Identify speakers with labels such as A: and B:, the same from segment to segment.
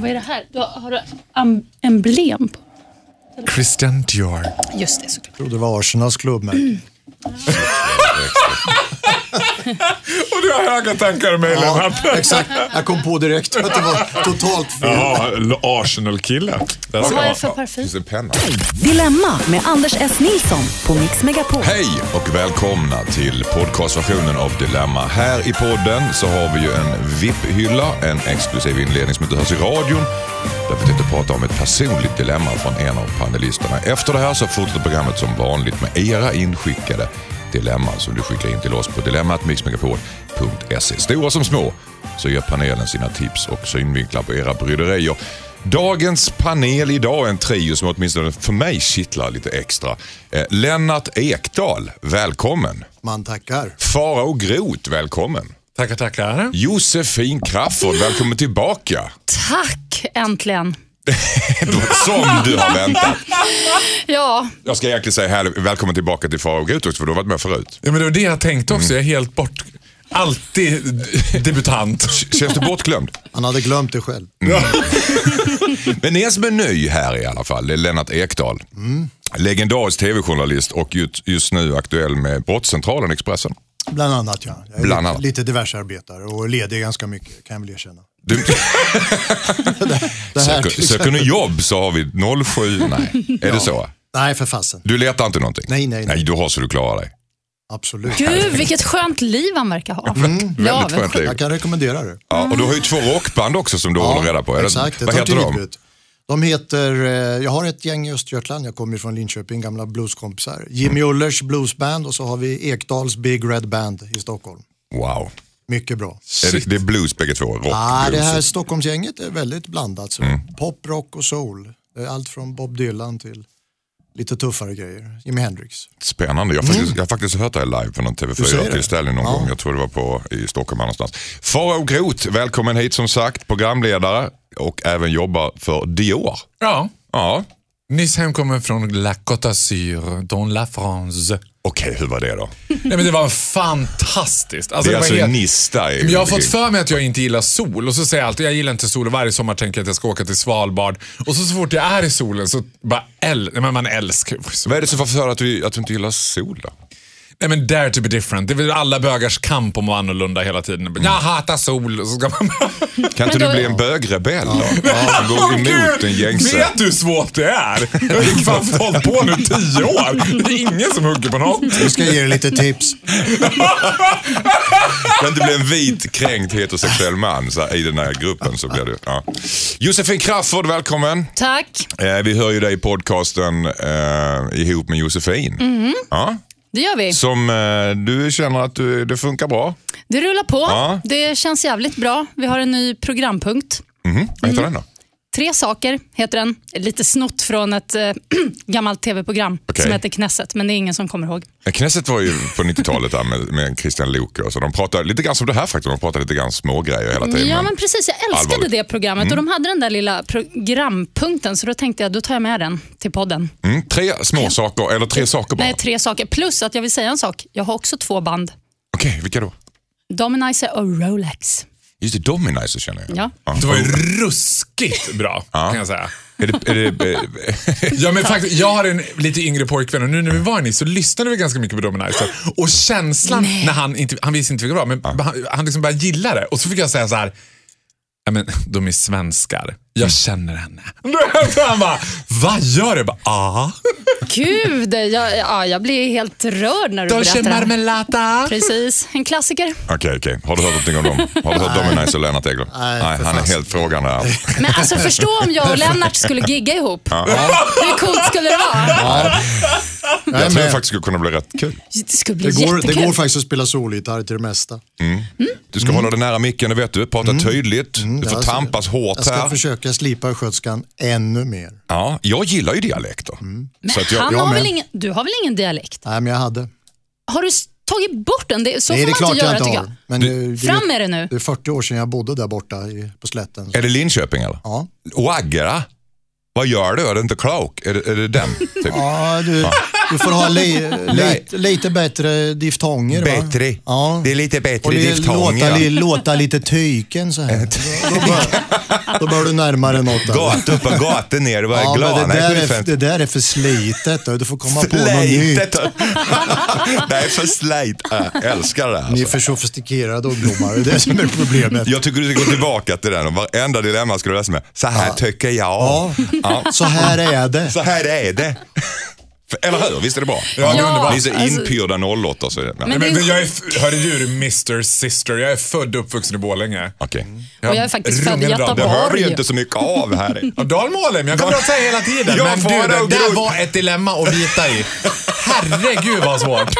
A: Vad är det här? Du har, har du am- emblem på?
B: Christian Dior.
A: Just det, såklart.
C: trodde det var Arsenals klubbmärke.
B: Och du har höga tankar om mig,
C: Ja,
B: Lennart.
C: exakt. Jag kom på direkt att det var totalt fel.
B: Jaha, Arsenal-kille. Där ser
A: Vad är
B: man.
A: det för parfym?
D: Finns det penna?
E: Dilemma med Anders S. Nilsson på Mix Megapol.
D: Hej och välkomna till podcastversionen av Dilemma. Här i podden så har vi ju en VIP-hylla, en exklusiv inledning som inte hörs i radion. Där vi tänkte prata om ett personligt dilemma från en av panelisterna. Efter det här så fortsätter programmet som vanligt med era inskickade dilemman som du skickar in till oss på dilemmatmixmegapol.se. Stora som små så gör panelen sina tips och synvinklar på era bryderier. Dagens panel idag är en trio som åtminstone för mig kittlar lite extra. Eh, Lennart Ekdal, välkommen.
C: Man tackar.
D: Farao Groth, välkommen.
B: Tackar, tackar.
D: Josefin Crafoord, välkommen tillbaka.
A: Tack, äntligen.
D: Som du har väntat.
A: Ja,
D: Jag ska egentligen säga här, välkommen tillbaka till Farao Groth också, för du har varit med förut.
B: Ja, men det var det jag tänkte också. Jag är helt bort... Alltid debutant.
D: Känns du bortglömd?
C: Han hade glömt det själv.
D: Men en som är ny här i alla fall, det är Lennart Ekdal. Legendarisk tv-journalist och just, just nu aktuell med Brottscentralen Expressen.
C: Bland annat ja. Jag är
D: Bland
C: lite-
D: annat.
C: Lite diversarbetare och ledig ganska mycket kan jag väl erkänna.
D: Du,
C: Det här
D: söker,
C: till
D: söker ni
C: exempel.
D: jobb så har vi 07. Nej, är det så?
C: Nej för fasen.
D: Du letar inte någonting?
C: Nej, nej, nej.
D: Nej, du har så du klarar dig.
C: Absolut.
A: gud vilket skönt liv han verkar ha. Mm,
D: Väldigt skönt liv.
C: Jag kan rekommendera det.
D: Ja, och du har ju två rockband också som du håller reda på. Är det-
C: Mm. Exakt, det
D: Vad
C: tar
D: heter
C: tid,
D: de?
C: vet du. De heter, eh, jag har ett gäng i Östergötland, jag kommer från Linköping, gamla blueskompisar. Jimmy Ullers bluesband och så har vi Ekdals Big Red Band i Stockholm.
D: Wow.
C: Mycket bra.
D: Är det, det är blues bägge två? Rock,
C: Ah, det
D: blues.
C: här Stockholmsgänget är väldigt blandat. Så Pop, rock och soul. Det är allt från Bob Dylan till lite tuffare grejer. Jimi Hendrix.
D: Spännande. Jag har, faktiskt, jag har faktiskt hört det här live på någon
C: Mm. säger det?
D: TV4-tillställning någon
C: Ja.
D: gång. Jag tror det var på, i Stockholm eller någonstans. Farao Groth, välkommen hit som sagt. Programledare och även jobbar för Dior.
B: Ja.
D: Ja,
B: Nyss hemkommen från La Côte d'Azur, dans la France.
D: okej hur var det då?
B: Nej, men det var fantastiskt. Alltså,
D: Det är
B: var
D: alltså
B: helt-
D: Nista. i-
B: Men jag har fått för mig att jag inte gillar sol och så säger jag alltid jag gillar inte sol och varje sommar tänker jag att jag ska åka till Svalbard och så, så fort jag är i solen så bara äl- Nej, men man älskar
D: Vad är det som får för att du, att du inte gillar sol då?
B: Nej men dare to be different. Det är väl alla bögars kamp om att vara annorlunda hela tiden. Jag hatar sol. och Så ska man...
D: Kan inte
A: Men
D: du
A: då-
D: bli en bögrebell då? Som går emot den gängse.
B: Vet du hur svårt det är? Jag har ju fan hållit på nu tio år. Det är ingen som hugger på något.
C: Jag ska ge er lite tips.
D: Kan inte bli en vit, kränkt heterosexuell man så här, i den här gruppen så blir du... Ja. Josefin Crafoord, välkommen.
A: Tack,
D: Eh, vi hör ju dig i podcasten eh, ihop med Josefin.
A: Mhm.
D: Ja,
A: det gör vi.
D: som eh, du känner att du, det funkar bra.
A: Det rullar på.
D: Ja.
A: Det känns jävligt bra. Vi har en ny programpunkt.
D: Mhm. Vad heter
A: Mm.
D: den då?
A: Tre saker heter den. Lite snott från ett eh, gammalt tv-program
D: Okej.
A: som heter Knesset, men det är ingen som kommer ihåg.
D: Eh, Knesset var ju på 90-talet där med, med Christian Luuk och så De pratade lite grann som det här faktiskt. De pratade lite grann smågrejer hela tiden.
A: Ja,
D: men-
A: men precis. Jag älskade
D: Allvarligt. Mm.
A: det programmet och de hade den där lilla programpunkten, så då tänkte jag då tar jag med den till podden.
D: Mm, tre små saker, eller tre saker bara.
A: Nej, tre saker. Plus att jag vill säga en sak. Jag har också två band.
D: Okej, vilka då?
A: Dominizer och Rolex.
D: Just det, Dominizer känner jag.
A: Ja.
B: Det var ju ruskigt bra kan jag säga.
D: Är det, är det, eh,
B: Ja, men faktiskt, jag har en lite yngre pojkvän och nu när vi var i Nice så lyssnade vi ganska mycket på Dominizer. Och känslan när han inte, han visste inte vilka det var, men han, han liksom började gilla det. Och så fick jag säga så här, ja men de är svenskar,
A: Mm.
B: jag känner henne. Då han bara, vad gör du? Jag bara, ah.
A: Gud, jag, ja, jag blir helt rörd när du
B: Dolce
A: berättar det här.
B: Marmelata.
A: Precis, en klassiker.
D: Okej, okej. Har du hört någonting om dem? Har du hört Dominizer och Lennart Eglund?
C: Nej, för
D: han är
C: fan.
D: helt frågande här.
A: Men alltså förstå om jag och Lennart skulle gigga ihop. Hur coolt skulle det vara?
C: Jag
D: Jag
C: är
D: tror det
C: med.
D: faktiskt skulle kunna bli rätt kul.
A: Det skulle bli
C: Det går,
A: jättekul.
C: det går faktiskt att spela solgitarr till det mesta.
D: Du
C: Mm.
D: ska hålla dig nära micken, det vet du. Prata tydligt. du får
C: alltså,
D: tampas hårt
C: Mm. Jag ska
D: här.
C: försöka slipa skötskan ännu mer.
D: Ja, jag gillar ju dialekter.
C: Mm.
D: Så att jag,
A: Han
D: jag,
A: har
C: med.
A: väl ingen, du har väl ingen dialekt?
C: Nej, men jag hade.
A: Har du s- tagit bort den? Det, så
C: Nej,
A: får
C: det är
A: man
C: klart
A: inte göra
C: jag inte
A: tycker jag.
C: har. Men det, det,
A: Fram med det nu.
C: det är 40 år sedan jag bodde där borta i, på slätten.
D: är det Linköping eller?
C: Ja.
D: Waggera? Vad gör du? Är du inte klok? Är det, är det den? Typ.
C: Ja, du, Du får ha li, li, lite bättre diftonger. va?
D: Bättre.
C: Ja.
D: Det är lite bättre
C: Och li,
D: diftonger.
C: låta, li,
D: ja.
C: låta lite tyken så här. Då, då, bör, då bör du närmare något. där.
D: Gat upp och gata ner. Det var
C: Ja,
D: glad.
C: men det,
D: Nej,
C: där
D: det
C: är,
D: fanns-
C: det där är för slitet. Då. Du får komma på något nytt.
D: Slitet. Det är för slit. Jag älskar det.
C: Ni är
D: Alltså.
C: för sofistikerade ungdomar. Det är det som är problemet.
D: Jag tycker du ska gå tillbaka till den och varenda dilemma ska du lösa med. Så här tycker jag.
C: Ja. Så här är det.
D: Så här är det. För- Eller hur? Visst är det bra?
B: det är underbart.
D: Vi är så
A: alltså-
D: inpyrda 08 så är det.
A: Men
B: Men,
A: det är-
B: men jag är, f- hörde du Mr Sister, jag är född och uppvuxen i Borlänge.
D: Okej.
A: Och jag är faktiskt född i
B: Rungeldal.
D: Det hör vi ju
A: Borg.
D: inte så mycket av här.
B: Ja, Dalmålen, jag kan prata hela tiden.
D: Ja,
B: Men du,
D: fara
B: det
D: och
B: där
D: grod.
B: var ett dilemma att bita i. Herregud vad svårt.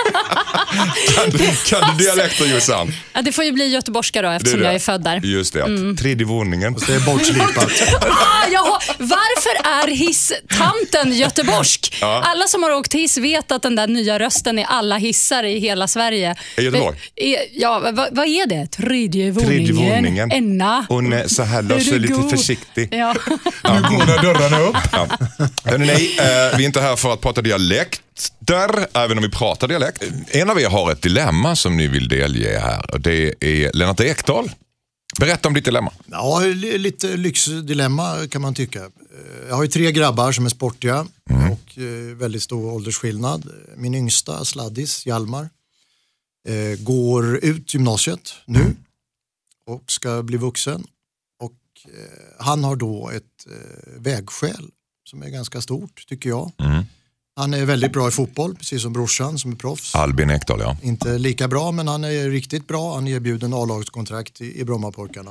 D: Kan du, kan du dialekten Jossan?
A: Ja, det får ju bli göteborgska då eftersom
D: det.
A: jag är född där.
D: Just det, mm. tredje våningen.
C: Det är bortslipat.
A: Ah, jag har, varför är hisstanten göteborgsk? Alla som har åkt hiss vet att den där nya rösten i alla hissar i hela Sverige.
D: I Göteborg?
A: Eh, eh, Ja, vad vad är det? Tredje våningen?
D: Tredje våningen.
A: Enna?
D: Hon är så här
A: Är
D: lös
A: du
D: och lite
A: god?
D: försiktig.
A: Ja.
B: Nu går dörrarna upp.
D: Ja. Hörrni, nej, eh, vi är inte här för att prata dialekter, även om vi pratar dialekt. En av er har ett dilemma som ni vill delge här och det är Lennart Ekdahl. Berätta om ditt dilemma.
C: Ja, li- lite lyxdilemma kan man tycka. Eh, Jag har ju tre grabbar som är sportiga och eh, väldigt stor åldersskillnad. Min yngsta, Sladdis, Hjalmar, eh, går ut gymnasiet nu och ska bli vuxen. Och eh, han har då ett eh, vägskäl som är ganska stort tycker jag. Han är väldigt bra i fotboll, precis som brorsan som är proffs.
D: Albin Ekdahl, ja.
C: Inte lika bra, men han är riktigt bra. Han är erbjuden A-lagskontrakt i, i Brommapojkarna.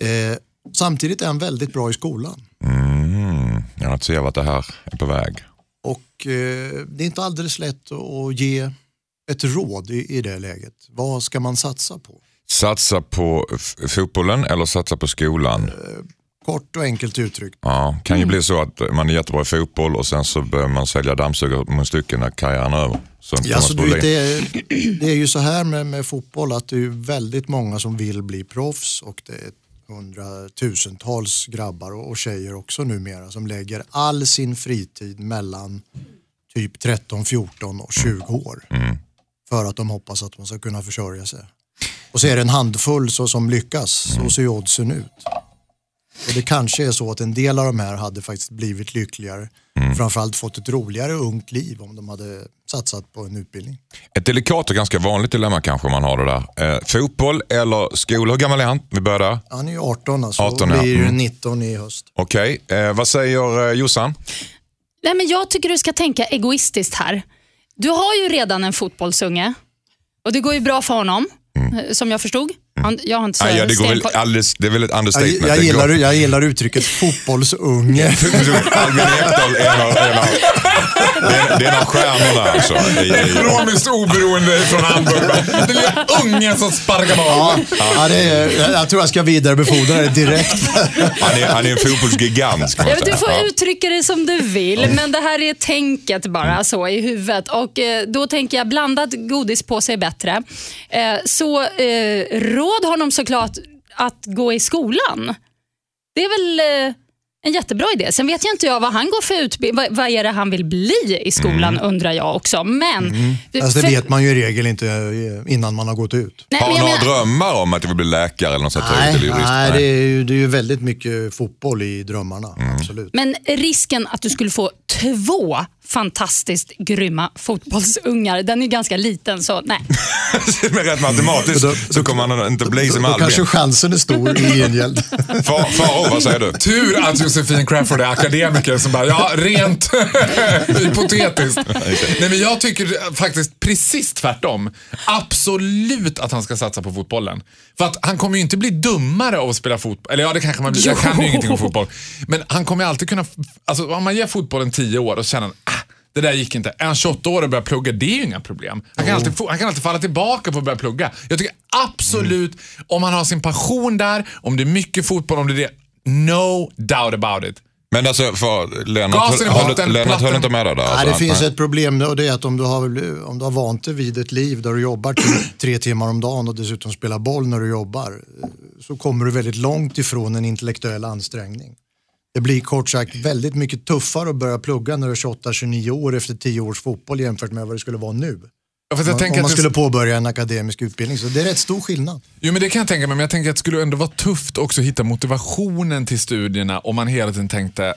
C: Eh, samtidigt är han väldigt bra i skolan.
D: Mm, ja, att se vart det här är på väg.
C: Och eh, det är inte alldeles lätt att- att ge ett råd i, i det läget. Vad ska man satsa på?
D: Satsa på f- fotbollen eller satsa på skolan.
C: Kort och enkelt uttryckt.
D: Ja, kan
C: Mm.
D: ju bli så att man är jättebra i fotboll och sen så börjar man sälja dammsugarmunstycken när karriären är över. Så
C: Ja, så du, vet, det, är, det är ju så här med, med fotboll att det är ju väldigt många som vill bli proffs och det är hundratusentals grabbar och, och tjejer också numera som lägger all sin fritid mellan typ 13, 14 och 20 år. För att de hoppas att man ska kunna försörja sig. Och så är det en handfull så, som lyckas, så ser ju oddsen ut. Och det kanske är så att en del av de här hade faktiskt blivit lyckligare. Framförallt fått ett roligare ungt liv om de hade satsat på en utbildning.
D: Ett delikat och ganska vanligt dilemma kanske man har det där. Eh, fotboll eller skola, hur gammal är han? Vi börjar där.
C: Han är ju 18 alltså
D: 18, ja.
C: och blir
D: Mm.
C: 19 i höst.
D: Okej, eh, vad säger eh, Jossan?
A: Nej, men jag tycker du ska tänka egoistiskt här. Du har ju redan en fotbollsunge och det går ju bra för honom, eh, som jag förstod. Han, jag har inte så
D: Mm. Nej, ja, det, går väl
A: stenkoll.
D: alldeles, det är väl ett
C: Jag,
D: understatement.
C: jag,
D: Det
C: gillar,
D: går-
C: jag gillar uttrycket fotbollsunge.
D: Albin Ekdal är en av, en av, det är, det är en av stjärnorna alltså. I, i,
B: Ekonomiskt oberoende från Hamburg. va? Den lilla ungen som sparkar boll.
C: Ja, ja, det är, jag- jag tror jag ska vidarebefordra det direkt.
D: han, är, han är en fotbollsgigant kan
A: Ja,
D: man
A: men du
D: säga.
A: får
D: Ja.
A: uttrycka dig som du vill, men det här är tänket bara så i huvudet. Och eh, Då tänker jag blandat godis på sig bättre. Eh, så eh, råd honom såklart att gå i skolan. Det är väl eh, en jättebra idé. Sen vet jag inte jag vad han går för utbildning. Vad, vad är det han vill bli i skolan undrar jag också. Men,
C: Mm. Alltså, det
A: för-
C: vet man ju i regel inte eh, innan man har gått ut.
A: Nej,
D: Har
A: men
D: han
A: jag
D: några
A: menar-
D: drömmar om att du vill bli läkare eller något sånt? här, eller
C: Nej,
D: jurist?
C: nej det, är ju, det är ju väldigt mycket fotboll i drömmarna.
D: Mm.
C: Absolut.
A: Men risken att du skulle få två fantastiskt grymma fotbollsungar, den är ganska liten. så nej.
D: Men rent matematiskt så kommer han inte bli som
C: Då kanske
D: Albin.
C: chansen är stor i gengäld.
D: Fa- Faro, vad säger du?
B: Tur att Josefin Crafoord är akademiker som bara, ja rent hypotetiskt. Nej men jag tycker faktiskt precis tvärtom. Absolut att han ska satsa på fotbollen. För att han kommer ju inte bli dummare av att spela fotboll. Eller ja, det kanske man blir. Jag kan ju ingenting om fotboll. Men han kommer ju alltid kunna, alltså om man ger fotbollen 10 år och känner, ah, det där gick inte. Är han 28 år och börjar plugga, det är ju inga problem. Han kan, alltid, få- han kan alltid falla tillbaka på att börja plugga. Jag tycker absolut, om han har sin passion där, om det är mycket fotboll, om det är det, No doubt about it.
D: Men alltså, för Lennart,
B: Gasen i
D: höll,
B: botten,
D: Lennart höll
B: platten.
D: inte med dig där?
C: Ja,
D: Alltså,
C: det finns
D: nej.
C: ett problem och det är att om du, har, om du har vant dig vid ett liv där du jobbar typ tre timmar om dagen och dessutom spelar boll när du jobbar eh, så kommer du väldigt långt ifrån en intellektuell ansträngning. Det blir kort sagt väldigt mycket tuffare att börja plugga när du är 28-29 år efter 10 års fotboll jämfört med vad det skulle vara nu.
B: Ja, fast jag
C: Om,
B: tänker
C: om man
B: att det-
C: skulle påbörja en akademisk utbildning. Så det är rätt stor skillnad.
B: Jo, men det kan jag tänka mig, men jag tänker att det skulle ändå vara tufft också att hitta motivationen till studierna om man hela tiden tänkte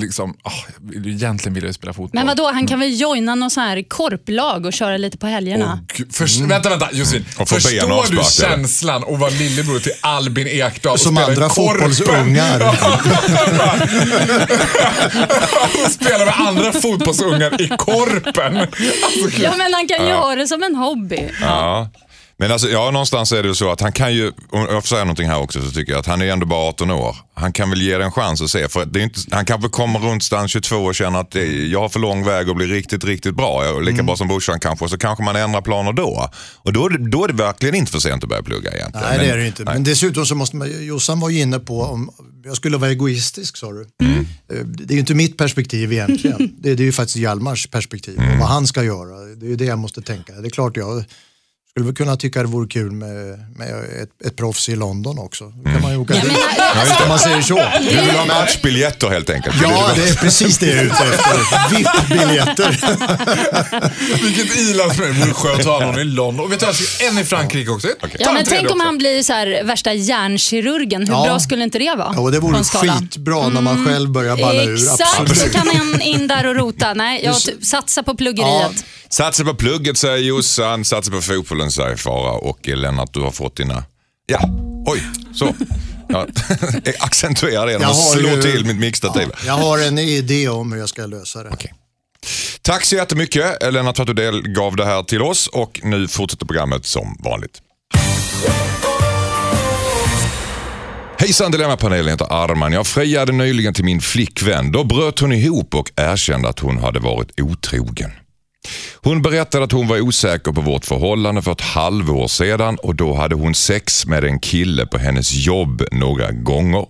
B: liksom, "Ah, jag vill ju- egentligen vill jag ju spela fotboll.
A: Men vadå, han kan väl joina någon sån här korplag och köra lite på
C: Oh.
A: helgerna?
B: Och förs-
C: Mm.
B: Vänta, vänta Josefin.
D: Mm. Och få benen
B: Förstår du
D: avsparkade.
B: känslan att vara lillebror till Albin Ekdal och
C: Som
B: spela i
C: andra
B: Korpen?
C: fotbollsungar.
B: och spela med andra fotbollsungar i Korpen. Alltså,
A: Ja, men han kan ju ha det som en hobby.
D: Ja. Men alltså, ja, någonstans är det ju så att han kan ju, om jag får säga någonting här också, så tycker jag att han är ändå bara 18 år. Han kan väl ge det en chans att se. För det är inte, han kanske kommer runt stan 22 och känner att det, jag har för lång väg att bli riktigt, riktigt bra. Jag är
C: Mm.
D: lika bra som brorsan kanske. Så kanske man ändrar planer då. Och då, är det- då är det verkligen inte för sent att börja plugga egentligen.
C: Nej, det
D: Men-
C: är det ju inte. Men dessutom så måste man, Jossan var ju inne på om jag skulle vara egoistisk sa du. Eh, Det är ju inte mitt perspektiv egentligen. Det, det är ju faktiskt Hjalmars perspektiv och vad han ska göra. Det är ju det jag måste tänka. Det är klart jag skulle väl kunna tycka det vore kul med, med ett, ett proffs i London också. Då kan man ju åka dit. Om man säger så.
D: Du vill ha matchbiljetter helt enkelt.
C: Ja, det är precis det jag är ute efter. VIP-biljetter.
B: vilket ilandsmän. Det vore skönt att ha någon i London. Och vet du, alltså, en i Frankrike också. Ta
A: Ja,
B: en
A: men
B: tredje
A: tänk om
B: också.
A: han blir så här, värsta hjärnkirurgen. Hur
C: Ja.
A: bra skulle inte det vara?
C: Ja, och det
A: på
C: vore
A: en skala?
C: skitbra när man själv börjar balla ur.
A: Exakt,
C: Absolut.
A: så kan han in där och rota. Nej, jag t- satsar på pluggeriet.
D: Satsa på plugget säger Jossan, satsa på fotbollen säger Fara och eh, Lennart du har fått dina... Ja, oj, så. Ja. Accentuera det genom
C: Jag
D: att
C: har
D: slå
C: ju-
D: till mitt mixtativ.
C: Jag har en idé om hur jag ska lösa det.
D: Tack så jättemycket eh, Lennart för att du delgav det här till oss och nu fortsätter programmet som vanligt. Hejsan Dilemmapanelen heter Arman. Jag friade nyligen till min flickvän. Då bröt hon ihop och erkände att hon hade varit otrogen. Hon berättade att hon var osäker på vårt förhållande för ett halvår sedan och då hade hon sex med en kille på hennes jobb några gånger.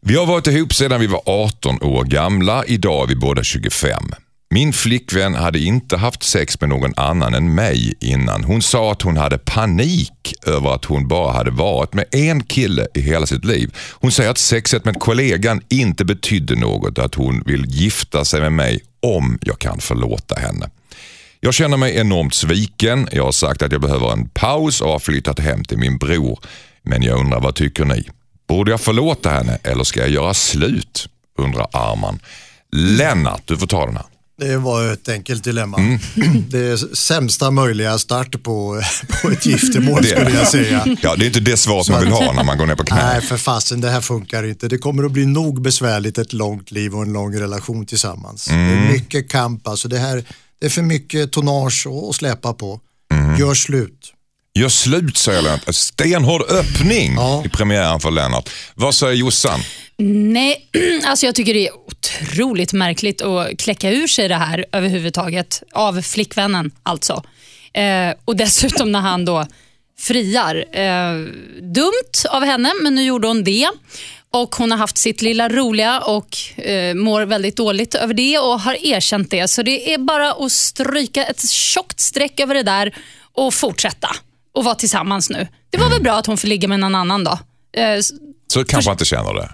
D: Vi har varit ihop sedan vi var 18 år gamla. Idag är vi båda 25. Min flickvän hade inte haft sex med någon annan än mig innan. Hon sa att hon hade panik över att hon bara hade varit med en kille i hela sitt liv. Hon säger att sexet med kollegan inte betydde något, att hon vill gifta sig med mig om jag kan förlåta henne. Jag känner mig enormt sviken. Jag har sagt att jag behöver en paus och har flyttat hem till min bror. Men jag undrar, vad tycker ni? Borde jag förlåta henne eller ska jag göra slut? Undrar Arman. Lennart, du får ta den här.
C: Det var ett enkelt dilemma.
D: Mm.
C: Det är sämsta möjliga start på, på ett giftermål
D: Det-
C: skulle jag säga.
D: Ja, det är inte det svaret man vill ha när man går ner på knä.
C: Nej, för fasen, det här funkar inte. Det kommer att bli nog besvärligt ett långt liv och en lång relation tillsammans.
D: Mm.
C: Det är mycket kamp, alltså det, här, det är för mycket tonnage att att släpa på.
D: Mm.
C: Gör slut.
D: Gör slut säger Lennart. Stenhård öppning i premiären för Lennart. Vad säger Jossan?
A: Nej, alltså jag tycker det är otroligt märkligt att kläcka ur sig det här överhuvudtaget. Av flickvännen alltså. Eh, och dessutom när han då friar. Eh, dumt av henne, men nu gjorde hon det. Och Hon har haft sitt lilla roliga och eh, mår väldigt dåligt över det och har erkänt det. Så det är bara att stryka ett tjockt streck över det där och fortsätta och vara tillsammans nu. Det var väl bra att hon får ligga med någon annan då. Eh,
D: Så kanske man inte känner det.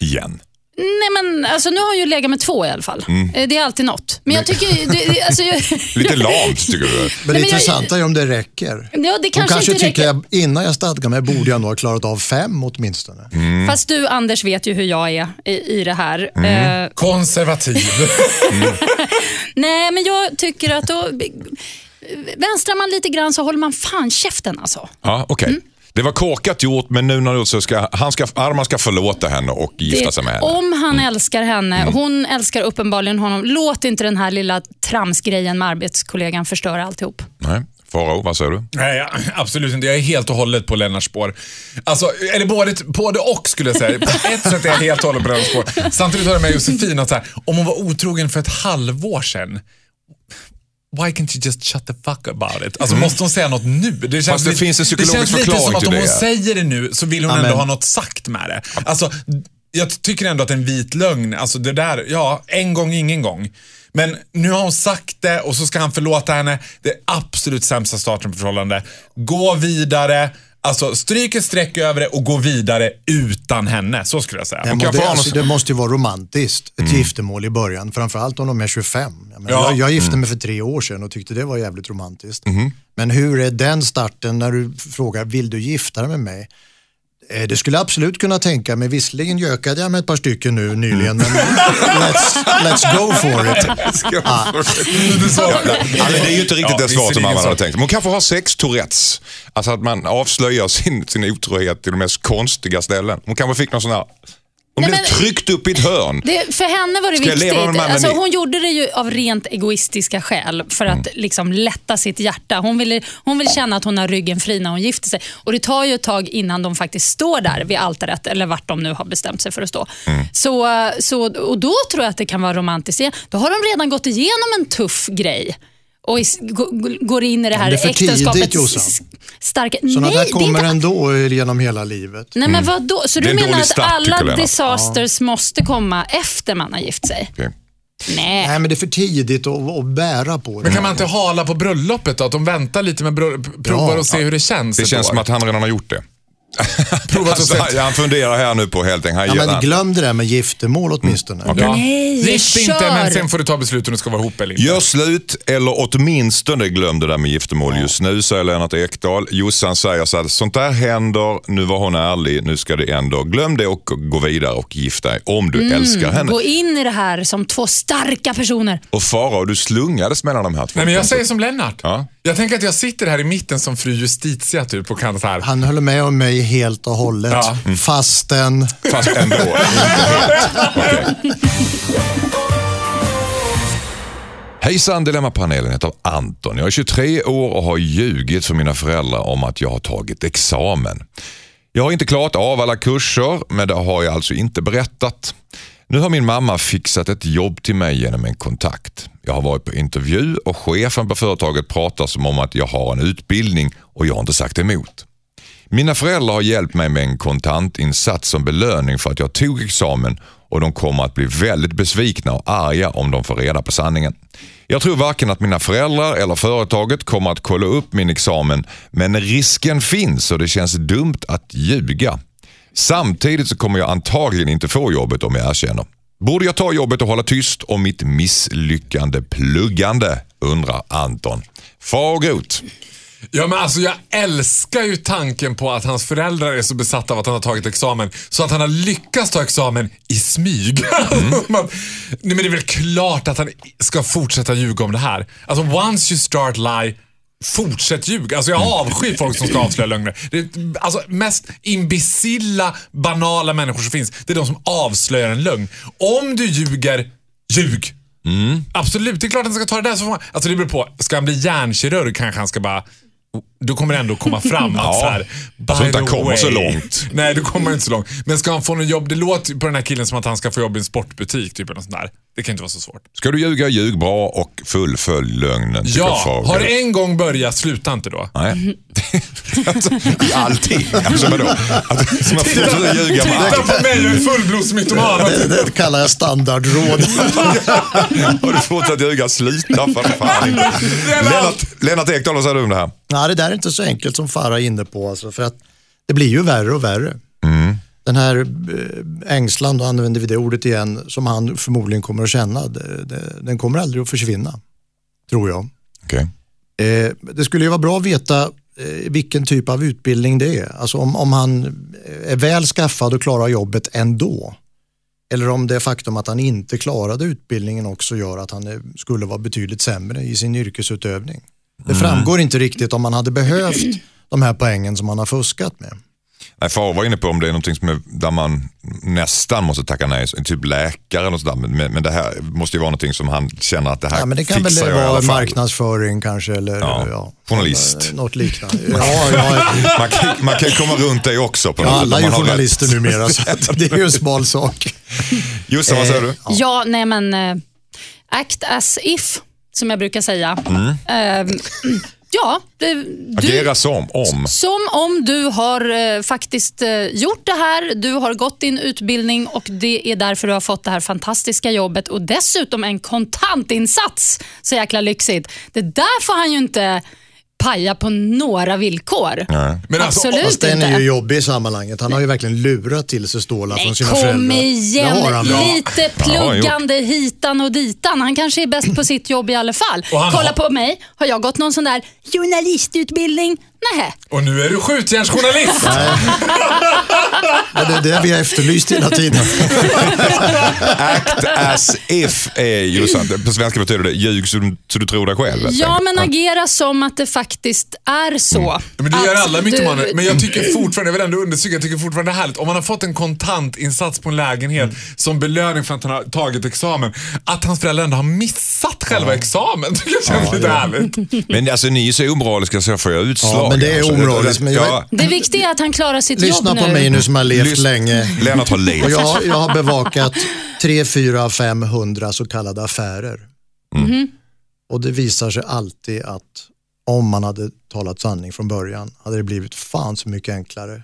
D: Igen.
A: Nej, men alltså, nu har han ju legat med två i alla fall.
D: Mm.
A: Eh, Det är alltid något. Men jag tycker... ju- Det, det- alltså, jag,
D: Lite lamt tycker du?
C: Men det
A: Nej, men jag-
C: intressanta är om det räcker.
A: ja, det
C: Hon
A: kanske,
C: kanske
A: inte
C: tycker
A: räcker.
C: jag, innan jag stadgar mig borde jag nog ha klarat av fem åtminstone.
D: Mm.
A: Fast du, Anders, vet ju hur jag är i, i det här. Eh,
B: Konservativ.
A: nej, men jag tycker att då... Vänstrar man lite grann så håller man fan käften alltså.
D: Ja, okej. Det var korkat gjort, men nu när du så ska, han ska, Arman ska förlåta henne och gifta sig med henne. Mm.
A: Om han älskar henne, hon älskar uppenbarligen honom, låt inte den här lilla tramsgrejen med arbetskollegan förstöra alltihop.
D: Nej. Faro, vad säger du?
B: Nej, jag- absolut inte. Jag är helt och hållet på Lennarts spår. Alltså, eller både, både och skulle jag säga. På ett sätt är jag helt och hållet på Lennarts spår. Samtidigt har jag med Josefin att så här, om hon var otrogen för ett halvår sedan, Why can't you just shut the fuck about it? Alltså, Måste hon säga något nu? Det känns,
D: Mm. Fast det finns en psykologisk
B: känns lite
D: förklaring
B: som att
D: till
B: om hon
D: det.
B: säger det nu så vill hon ändå
C: Amen.
B: ha något sagt med det. Alltså, jag tycker ändå att en vit lögn, alltså det där, ja, en gång ingen gång. Men nu har hon sagt det och så ska han förlåta henne. Det är absolut sämsta starten på förhållande. Gå vidare. Alltså, stryk ett streck över det och gå vidare utan henne. Så skulle jag säga.
C: Nej,
B: Och
C: men
B: jag
C: det,
B: får ha
C: alltså,
B: någon-
C: det måste ju vara romantiskt, ett giftermål i början. Framförallt om de är 25. Jag, menar,
B: Ja.
C: jag, jag gifte mig för tre år sedan och tyckte det var jävligt romantiskt. Men hur är den starten när du frågar, vill du gifta dig med mig? Eh, Det skulle jag absolut kunna tänka mig. Visserligen gökade jag med ett par stycken nu nyligen, men let's, let's go for it.
D: Ja, men det är ju inte riktigt
B: Ja,
D: det svar som
B: visserligen
D: man
B: så.
D: hade tänkt. Man kanske har sex Tourettes. Alltså att man avslöjar sin, sin otrohet till de mest konstiga ställen. Hon kanske fick någon sån här... Hon
A: Nej,
D: blev
A: men-
D: tryckt upp i ett hörn.
A: Det, för henne var det
D: Ska jag leva med Mm.
A: viktigt.
D: mannen
A: Alltså,
D: i-
A: hon gjorde det ju av rent egoistiska skäl för att liksom lätta sitt hjärta. Hon vill, hon vill känna att hon har ryggen fri när hon gifter sig. Och Det tar ju ett tag innan de faktiskt står där vid altaret eller vart de nu har bestämt sig för att stå.
D: Mm.
A: Så, så, och Då tror jag att det kan vara romantiskt igen. Då har de redan gått igenom en tuff grej och is, gå- gå- går in i det här
C: det är för tidigt,
A: äktenskapets
C: Jossan.
A: s- starka...
C: Sådana
A: Nej,
C: där
A: det är inte
C: kommer ändå genom hela livet.
A: Nej, men vadå? Så
D: Mm. Det är
A: du
D: en
A: menar
D: dålig
A: att
D: start, tycker
A: alla
D: Lennart.
A: disasters måste komma efter man har gift sig?
D: Okej.
A: Nej.
C: Nej, men det är för tidigt att, att bära på det.
B: Men kan man inte hala på bröllopet då? Att de väntar lite med bröllop, provar
C: Ja.
B: och ser hur det känns.
D: Det
B: ett
D: känns
B: år.
D: som att han redan har gjort det.
B: Provat och
D: Alltså,
B: sett.
D: han, han funderar här nu på helt enkelt.
C: Ja,
D: Han
C: men
D: gör det.
C: glöm det där med giftermål åtminstone.
B: Ja.
A: Nej,
B: Gift inte,
A: kör.
B: men sen får du ta beslut om du ska vara ihop eller inte.
D: Gör slut, eller åtminstone glöm det där med giftermål just nu, säger Lennart Ekdal. Jossan säger så här, sånt där händer, nu var hon ärlig, nu ska det ändå. Glöm det och gå vidare och gifta dig om du älskar henne.
A: Gå in i det här som två starka personer.
D: Och Farao, du slungades mellan de här två.
B: Nej, men jag säger som Lennart.
D: Ja.
B: Jag tänker att jag sitter här i mitten som fru Justitia typ och kan så här.
C: Han höll med om mig helt och hållet.
B: Ja.
C: Fastän,
D: Fast ändå. inte helt. Okej. Hejsan Dilemmapanelen, heter Anton. Jag är 23 år och har ljugit för mina föräldrar om att jag har tagit examen. Jag har inte klarat av alla kurser, men det har jag alltså inte berättat. Nu har min mamma fixat ett jobb till mig genom en kontakt. Jag har varit på intervju och chefen på företaget pratar som om att jag har en utbildning och jag har inte sagt emot. Mina föräldrar har hjälpt mig med en kontantinsats som belöning för att jag tog examen och de kommer att bli väldigt besvikna och arga om de får reda på sanningen. Jag tror varken att mina föräldrar eller företaget kommer att kolla upp min examen, men risken finns och det känns dumt att ljuga. Samtidigt så kommer jag antagligen inte få jobbet om jag erkänner. Borde jag ta jobbet och hålla tyst om mitt misslyckande pluggande? Undrar Anton. Far och grot.
B: Ja, men alltså, jag älskar ju tanken på att hans föräldrar är så besatta av att han har tagit examen så att han har lyckats ta examen i smyg. Man, nej, men det är väl klart att han ska fortsätta ljuga om det här. Alltså, once you start lie, fortsätt ljuga. Alltså, jag avskyr folk som ska avslöja lögner. Det är, alltså, mest imbecilla, banala människor som finns, det är de som avslöjar en lögn. Om du ljuger, ljug. Absolut, det är klart att han ska ta det där. Så får man, alltså det beror på, ska han bli hjärnkirurg kanske han ska bara då kommer det ändå komma fram att
D: Ja.
B: så här, by
D: Så inte han
B: the
D: kommer
B: way.
D: så långt.
B: Nej, då kommer han inte så långt. Men ska han få något jobb, det låter på den här killen som att han ska få jobb i en sportbutik. Typ, eller något sånt där. Det kan inte vara så svårt.
D: Ska du ljuga, ljug bra och fullfölj lögnen. tycker
B: Ja,
D: Fager.
B: har det en gång börjat, sluta inte då.
D: Nej. alltså, I allting. Alltså vadå? Att, som att fortsätta ljuga med
B: Titta
D: allt.
B: på mig, jag är fullblodsmytoman.
C: det, det kallar jag standardråd.
D: Har du fortsatt ljuga, sluta för fan. Lennart, Lennart Ekdahl, vad säger du om det här?
C: Nej, det där är inte så enkelt som Farah är inne på. Alltså, för att det blir ju värre och värre. Den här eh, ängslan, då använder vi det ordet igen, som han förmodligen kommer att känna, det, det, den kommer aldrig att försvinna. Tror jag.
D: Okej.
C: Eh, det skulle ju vara bra att veta eh, vilken typ av utbildning det är. Alltså om, om han eh, är väl skaffad och klarar jobbet ändå. Eller om det faktum att han inte klarade utbildningen också gör att han eh, skulle vara betydligt sämre i sin yrkesutövning.
D: Mm.
C: Det framgår inte riktigt om han hade behövt de här poängen som han har fuskat med.
D: Nej, Far var inne på om det är någonting som är, där man nästan måste tacka nej, så- typ läkare eller sådär. Men, men det här måste ju vara någonting som han känner att det här
C: Ja, men det kan väl
D: fixar jag i
C: vara
D: alla fall.
C: marknadsföring kanske eller
D: Ja,
C: ja. eh,
D: journalist.
C: något liknande. Ja, ja,
D: Man kan, man kan ju komma runt det också. På
C: ja,
D: något sätt,
C: alla
D: om
C: är ju
D: man har rätt.
C: journalister numera så att det är ju en smal sak.
D: Jossan, vad säger
C: Eh,
D: du?
A: Ja, nej men eh, act as if, som jag brukar säga. Ehm, ja, det, du,
D: Agera som, om.
A: som om du har eh, faktiskt eh, gjort det här, du har gått din utbildning och det är därför du har fått det här fantastiska jobbet och dessutom en kontantinsats. Så jäkla lyxigt. Det där får han ju inte paja på några villkor.
D: Nej.
B: Men alltså,
A: Absolut
C: Fast den
A: inte.
C: är ju jobbig i sammanhanget. Han har ju verkligen lurat till sig stålar från sina
A: Kom
C: föräldrar.
A: igen,
C: Det har han. Ja.
A: lite pluggande hitan och ditan. Han kanske är bäst på sitt jobb i alla fall.
B: Och han
A: Kolla
B: har-
A: på mig, har jag gått någon sån där journalistutbildning? Nej.
B: Och nu är du skjutjärnsjournalist.
C: Ja, det är det vi har efterlyst hela tiden.
D: Act as if är ju sant. På svenska betyder det ljug så du, så du tror dig själv.
A: Ja, men agera som att det faktiskt är
C: Mm.
A: så.
B: Men det gör
A: Att
B: alla
A: du-
B: mytomaner. Men jag tycker fortfarande, jag vill ändå understryka, jag tycker fortfarande det är härligt. Om man har fått en kontantinsats på en lägenhet som belöning för att han har tagit examen, att hans föräldrar ändå har missat själva examen tycker jag känns lite härligt.
D: Men alltså ni är så omoraliska så jag får jag utslag.
C: Ja, men det är
D: alltså.
C: omoraliskt, men jag-
D: Ja,
A: Det viktiga är att han klarar sitt
C: Lyssna
A: jobb
C: på
A: nu.
C: mig nu som har levt
D: Lyssna.
C: länge.
D: Lennart har levt.
C: Och jag, jag har bevakat 3, 4, 500 så kallade affärer.
A: Mm.
C: Och det visar sig alltid att om man hade talat sanning från början hade det blivit fan så mycket enklare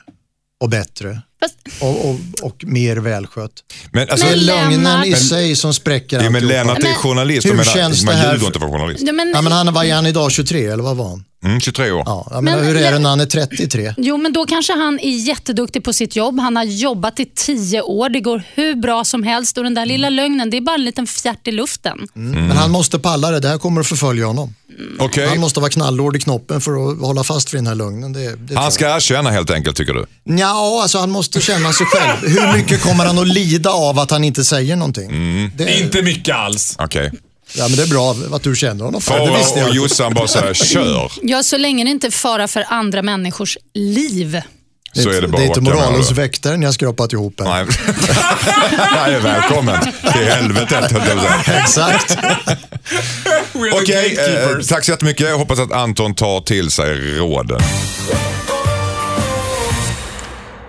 C: och bättre
A: Fast,
C: och, och, och mer välskött.
D: Men, alltså,
C: Det är
A: Men Lennart-
C: lögnen i
A: Men-
C: sig som spräcker
D: ja, men
C: alltihopa.
D: Lennart är
A: Men-
D: journalist.
C: Hur
D: jag menar,
C: känns
D: man
C: det här-
D: ljuger inte för att vara journalist.
A: ja, men,
C: Ja, men han var ju han idag 23 eller vad var han?
D: Mm, 23 år.
C: Ja, jag menar,
A: Men-
C: hur är det när han är 33?
A: Jo, men då kanske han är jätteduktig på sitt jobb. Han har jobbat i tio år. Det går hur bra som helst och den där lilla lögnen, det är bara en liten fjärt i luften.
C: Mm.
D: Mm.
C: Men han måste palla det, det här kommer att förfölja honom.
D: Okej.
C: Han måste vara knallhård i knoppen för att hålla fast vid den här lögnen. Det, det tror jag.
D: Han ska erkänna helt enkelt tycker du?
C: Ja, alltså han måste känna sig själv. Hur mycket kommer han att lida av att han inte säger någonting?
D: Mm.
C: Det,
B: Inte mycket alls.
D: Okej.
C: ja, men det är bra att du känner honom för. Det visste
D: Farao och
C: jag.
D: Jossan bara så här, kör.
A: Ja, så länge det inte är fara för andra människors liv.
D: Så är det bara
C: det är inte
D: att åka med,
C: moralens
D: eller?
C: väktaren jag skrapat ihop än.
D: Nej. Nej, välkommen till helvetet. höll jag på att säga.
C: Exakt.
B: We're the
D: Okej, eh,
B: gatekeepers.
D: tack så jättemycket. Jag hoppas att Anton tar till sig råden.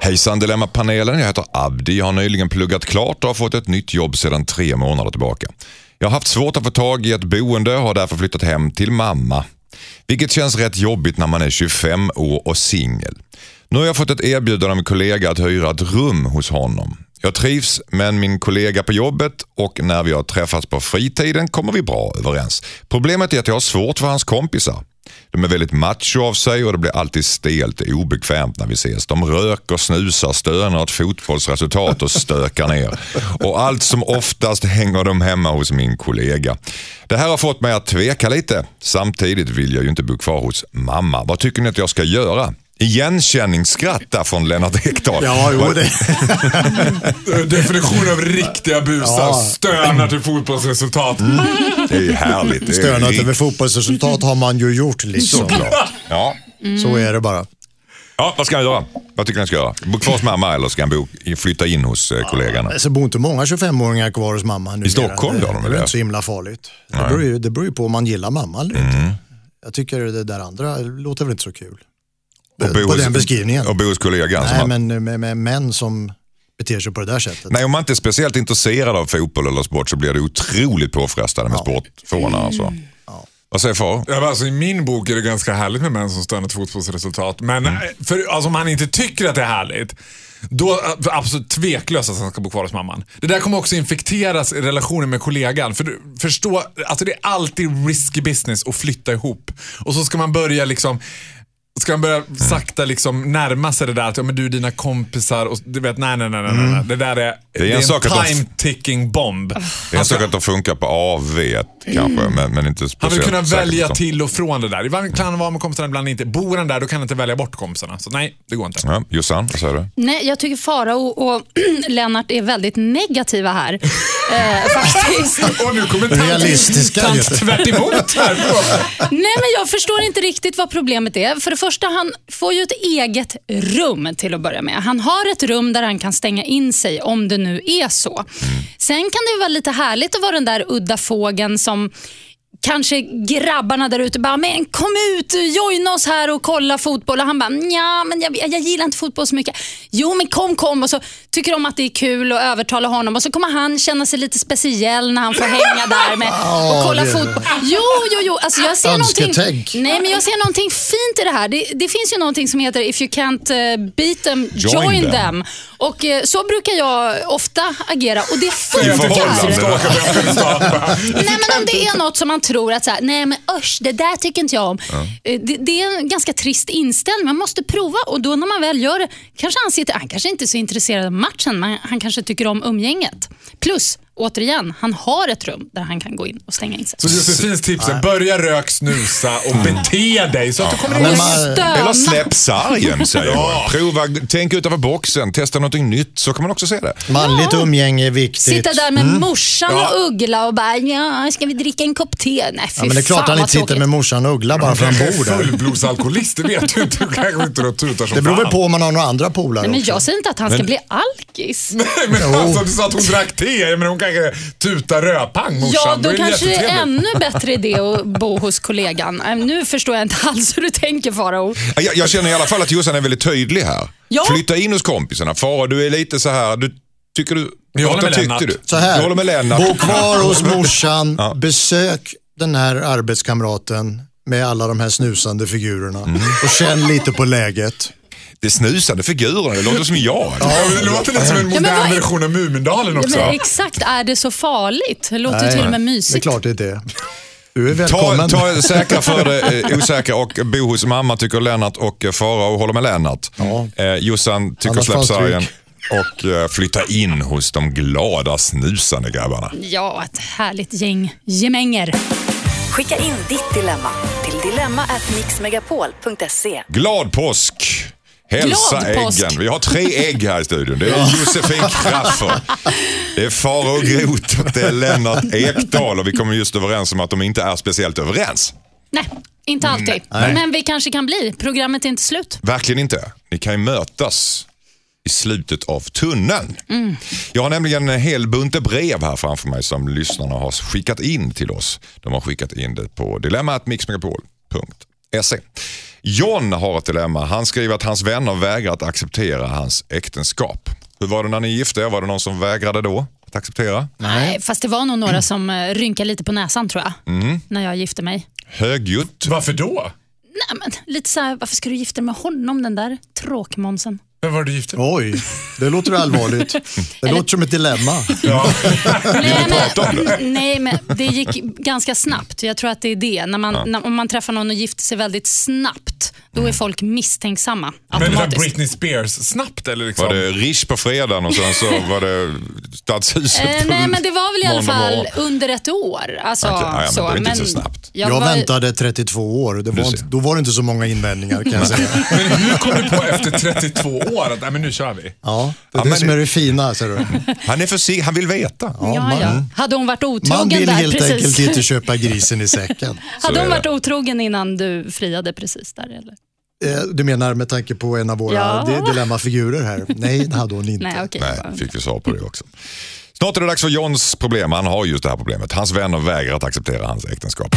D: Hejsan Dilemma-panelen, jag heter Abdi. Jag har nyligen pluggat klart och har fått ett nytt jobb sedan tre månader tillbaka. Jag har haft svårt att få tag i ett boende och har därför flyttat hem till mamma. Vilket känns rätt jobbigt när man är 25 år och singel. Nu har jag fått ett erbjudande av en kollega att hyra ett rum hos honom. Jag trivs men min kollega på jobbet och när vi har träffats på fritiden kommer vi bra överens. Problemet är att jag har svårt för hans kompisar. De är väldigt macho av sig och det blir alltid stelt och obekvämt när vi ses. De röker, snusar, stönar ett fotbollsresultat och stökar ner. Och allt som oftast hänger de hemma hos min kollega. Det här har fått mig att tveka lite. Samtidigt vill jag ju inte bo kvar hos mamma. Vad tycker ni att jag ska göra? Igenkänningsskratt där från Lennart Ekdahl.
C: Ja, jo,
D: Vad-
C: det.
B: Definition av riktiga busar.
C: Ja.
B: Stönar till fotbollsresultat.
D: Det är härligt. Det är
C: Stönat
D: riktigt
C: över fotbollsresultat har man ju gjort liksom.
D: Såklart. Ja.
C: Så är det bara.
D: ja, vad ska han göra? Vad tycker ni han ska göra? Bo kvar hos mamma eller ska han bo, flytta in hos eh, kollegorna?
C: Alltså, bor inte många 25-åringar kvar hos mamma nu.
D: Stockholm
C: det,
D: gör de väl
C: det? är
D: det?
C: inte så himla farligt. Det beror, ju, det beror ju på om man gillar mamma eller inte.
D: Mm.
C: Jag tycker det där andra låter väl inte så kul.
D: Och bo
C: på
D: hos-
C: den beskrivningen.
D: Och bo hos kollegan. som
C: Nej,
D: han-
C: men med, med män som beter sig på det där sättet.
D: Nej, om man inte är speciellt intresserad av fotboll eller sport så blir det otroligt påfrestande med sportfåna. Alltså.
C: Mm.
D: Vad säger far?
B: Ja, men alltså, I min bok är det ganska härligt med män som stönar till fotbollsresultat. Men
D: Mm.
B: eh, för, alltså, om han inte tycker att det är härligt, då är det absolut tveklöst att han ska bo kvar hos mamman. Det där kommer också infekteras i relationen med kollegan. För, du- förstå, alltså, det är alltid risky business att flytta ihop. Och så ska man börja liksom Ska man
D: Mm.
B: börja sakta liksom närma sig det där att ja, men du dina kompisar och du vet nej nej nej nej. nej.
D: Mm.
B: Det där är, det är en,
D: sak att de-
B: time ticking bomb.
D: Det är en sak att de funkar på AV kanske, men,
B: Alltså- Mm.
D: men inte
B: Han
D: speciellt.
B: vill kunna
D: säkert liksom.
B: välja
C: liksom.
D: på-
B: till och från det där. Ibland kan han vara med kompisarna, ibland inte. Bor han där, då kan han inte välja bort kompisarna. Så nej, det går inte.
D: Ja, Jossan, vad säger du?
A: Nej, jag tycker Farao och Lennart är väldigt negativa här. eh, faktiskt.
B: Och nu kommer tant,
C: Realistiska,
B: tant
C: vet du.
B: tvärt emot här.
A: Nej, men jag förstår inte riktigt vad problemet är. För det första, han får ju ett eget rum till att börja med. Han har ett rum där han kan stänga in sig om det nu är så. Sen kan det ju vara lite härligt att vara den där udda fågeln som Kanske grabbarna där ute bara, men kom ut, joina oss här och kolla fotboll. Och han bara, nja, men jag, jag gillar inte fotboll så mycket. Jo, men kom, kom. Och så tycker de att det är kul och övertalar honom. Och så kommer han känna sig lite speciell när han får hänga där med och
C: Ja,
A: kolla
C: det är det.
A: fotboll. Jo, jo, jo. Alltså jag ser någonting,
C: Önsketänk.
A: nej, men jag ser någonting fint i det här. Det, det finns ju någonting som heter if you can't eh, beat them, join,
D: Join them.
A: them. Och eh, Så brukar jag ofta agera och det
B: I förhållande.
A: funkar.
D: förhållande.
B: Skakar på huvudet.
A: Nej, men om det är något som man tror att så här, nej men usch, det där tycker inte jag om. Eh, Det, det är en ganska trist inställning. Man måste prova och då när man väl gör det kanske han sitter, han kanske inte är så intresserad av matchen, men han kanske tycker om umgänget. Plus, återigen, han har ett rum där han kan gå in och stänga in sig.
B: Så Josefins tips är börja rök, snusa och
C: Mm.
B: bete dig så att du kommer in
C: Men
A: Eller
C: man-
A: stöna.
D: Eller släpp sargen säger hon. Prova, tänk utanför boxen, testa någonting nytt så kan man också se det.
C: Manligt umgänge är viktigt.
A: Sitta där med
C: Mm.
A: morsan och Uggla och bara, ja, ska vi dricka en kopp te? Nej, fy
C: Ja, men det är klart
A: fan,
C: han
A: vad
C: inte sitter
A: tråkigt.
C: med morsan och Uggla bara för han
B: Kanske är
C: bor där.
B: fullblodsalkoholist, det vet du inte. Du kanske inte då tutar som
C: Det beror väl
B: fan.
C: på om man har några andra polare
A: Nej, men
C: också.
A: jag säger inte att han ska bli alkis.
B: Nej, men alltså, du sa att hon drack te, men hon kanske tutar rödpang morsan.
A: Ja, då
B: är
A: kanske det är
B: jättetrevligt.
A: ännu bättre idé att bo hos kollegan. Äh, Nu förstår jag inte alls hur du tänker Farao.
D: Jag, jag känner i alla fall att Jossan är väldigt tydlig här.
A: Ja.
D: Flytta in hos kompisarna. Fara, du är lite så här, du tycker du...
B: Jag håller
D: ofta
B: med Lennart.
D: tyckte du.
C: Så här,
D: Jag håller med Lennart.
C: bo kvar hos morsan, besök den här arbetskamraten med alla de här snusande figurerna
D: Mm.
C: och känn lite på läget.
D: Det snusade figurerna, det låter som jag.
B: Ja, men det låter lite som en
A: men
B: modern
A: vad är-
B: version av Mumindalen
A: Ja,
B: också.
A: men exakt, är det så farligt? Det låter till och med
C: det är
A: mysigt.
C: klart det är det. Du är
D: Ta,
C: välkommen.
D: ta det säkra för det eh, osäkra och bo hos mamma tycker Lennart och eh, Farao håller med Lennart. Eh, Jossan tycker
C: Annars
D: släpp
C: fanns
D: sargen
C: tryck.
D: och eh, flytta in hos de glada snusande grabbarna.
A: Ja, ett härligt gäng gemänger.
F: Skicka in ditt dilemma till dilemma@mixmegapol.se.
D: Glad påsk! Hälsa
A: Glad
D: äggen.
A: påsk.
D: Vi har tre ägg här i studion. Det är Josefin Crafoord, det är Farao Groth och det är Lennart Ekdahl. Och vi kommer just överens om att de inte är speciellt överens.
A: Nej, inte
C: Mm,
A: alltid. Men vi kanske kan bli. Programmet är inte slut.
D: Verkligen inte. Ni kan ju mötas i slutet av tunneln.
A: Mm.
D: Jag har nämligen en hel bunte brev här framför mig som lyssnarna har skickat in till oss. De har skickat in det på dilemmatmixmegapol.se. John har ett dilemma. Han skriver att hans vänner vägrar att acceptera hans äktenskap. Hur var det när ni gifte er? Var det någon som vägrade då att acceptera?
A: Nej, fast det var nog några som eh, rynkade lite på näsan tror jag,
C: Mm.
A: när jag gifte mig.
D: Högljutt.
B: Varför då?
A: Nej, men lite så här, varför ska du gifta dig med honom, den där tråkmånsen?
B: Vem var det du gifte dig
C: Oj, det låter allvarligt. Det låter som ett dilemma.
B: ja.
A: Nej men, nej, men det gick ganska snabbt. Jag tror att det är det. När man, när, om man träffar någon och gifter sig väldigt snabbt, då
D: Mm.
A: är folk misstänksamma
B: Men det var
A: automatiskt.
B: Britney Spears snabbt eller liksom?
D: Var det Rish på fredagen och sen så var det Stadshuset
A: Eh,
D: på
A: nej, men det var väl i alla
D: måndag
A: fall
D: morgon.
A: under ett år. Alltså,
D: Okej, ja, ja, men
A: så.
D: det var inte så snabbt.
A: Jag,
C: Jag
A: var,
C: väntade 32 år. Det var
D: ser.
C: inte, då var det inte så många invändningar kan jag säga.
B: Men hur kom du på efter 32 år att nej, men nu kör vi?
C: Ja, det
D: Ja,
C: är det
D: men
C: som
D: det-
C: är det fina. Ser du.
D: Han är försiktig, han vill veta.
A: Ja, ja. Hade hon varit
C: Man
A: otrogen
C: vill
A: där
C: helt
A: precis?
C: enkelt inte köpa grisen i säcken.
A: Hade
D: Så är
A: hon
D: det.
A: varit otrogen innan du friade precis där? Eller?
C: Eh, Du menar med tanke på en av våra
A: Ja.
C: di- dilemmafigurer här? Nej, det hade hon inte.
A: Nej, okej.
D: Nej, fick vi svar på det också. Snart är det dags för Johns problem. Han har just det här problemet. Hans vänner vägrar att acceptera hans äktenskap.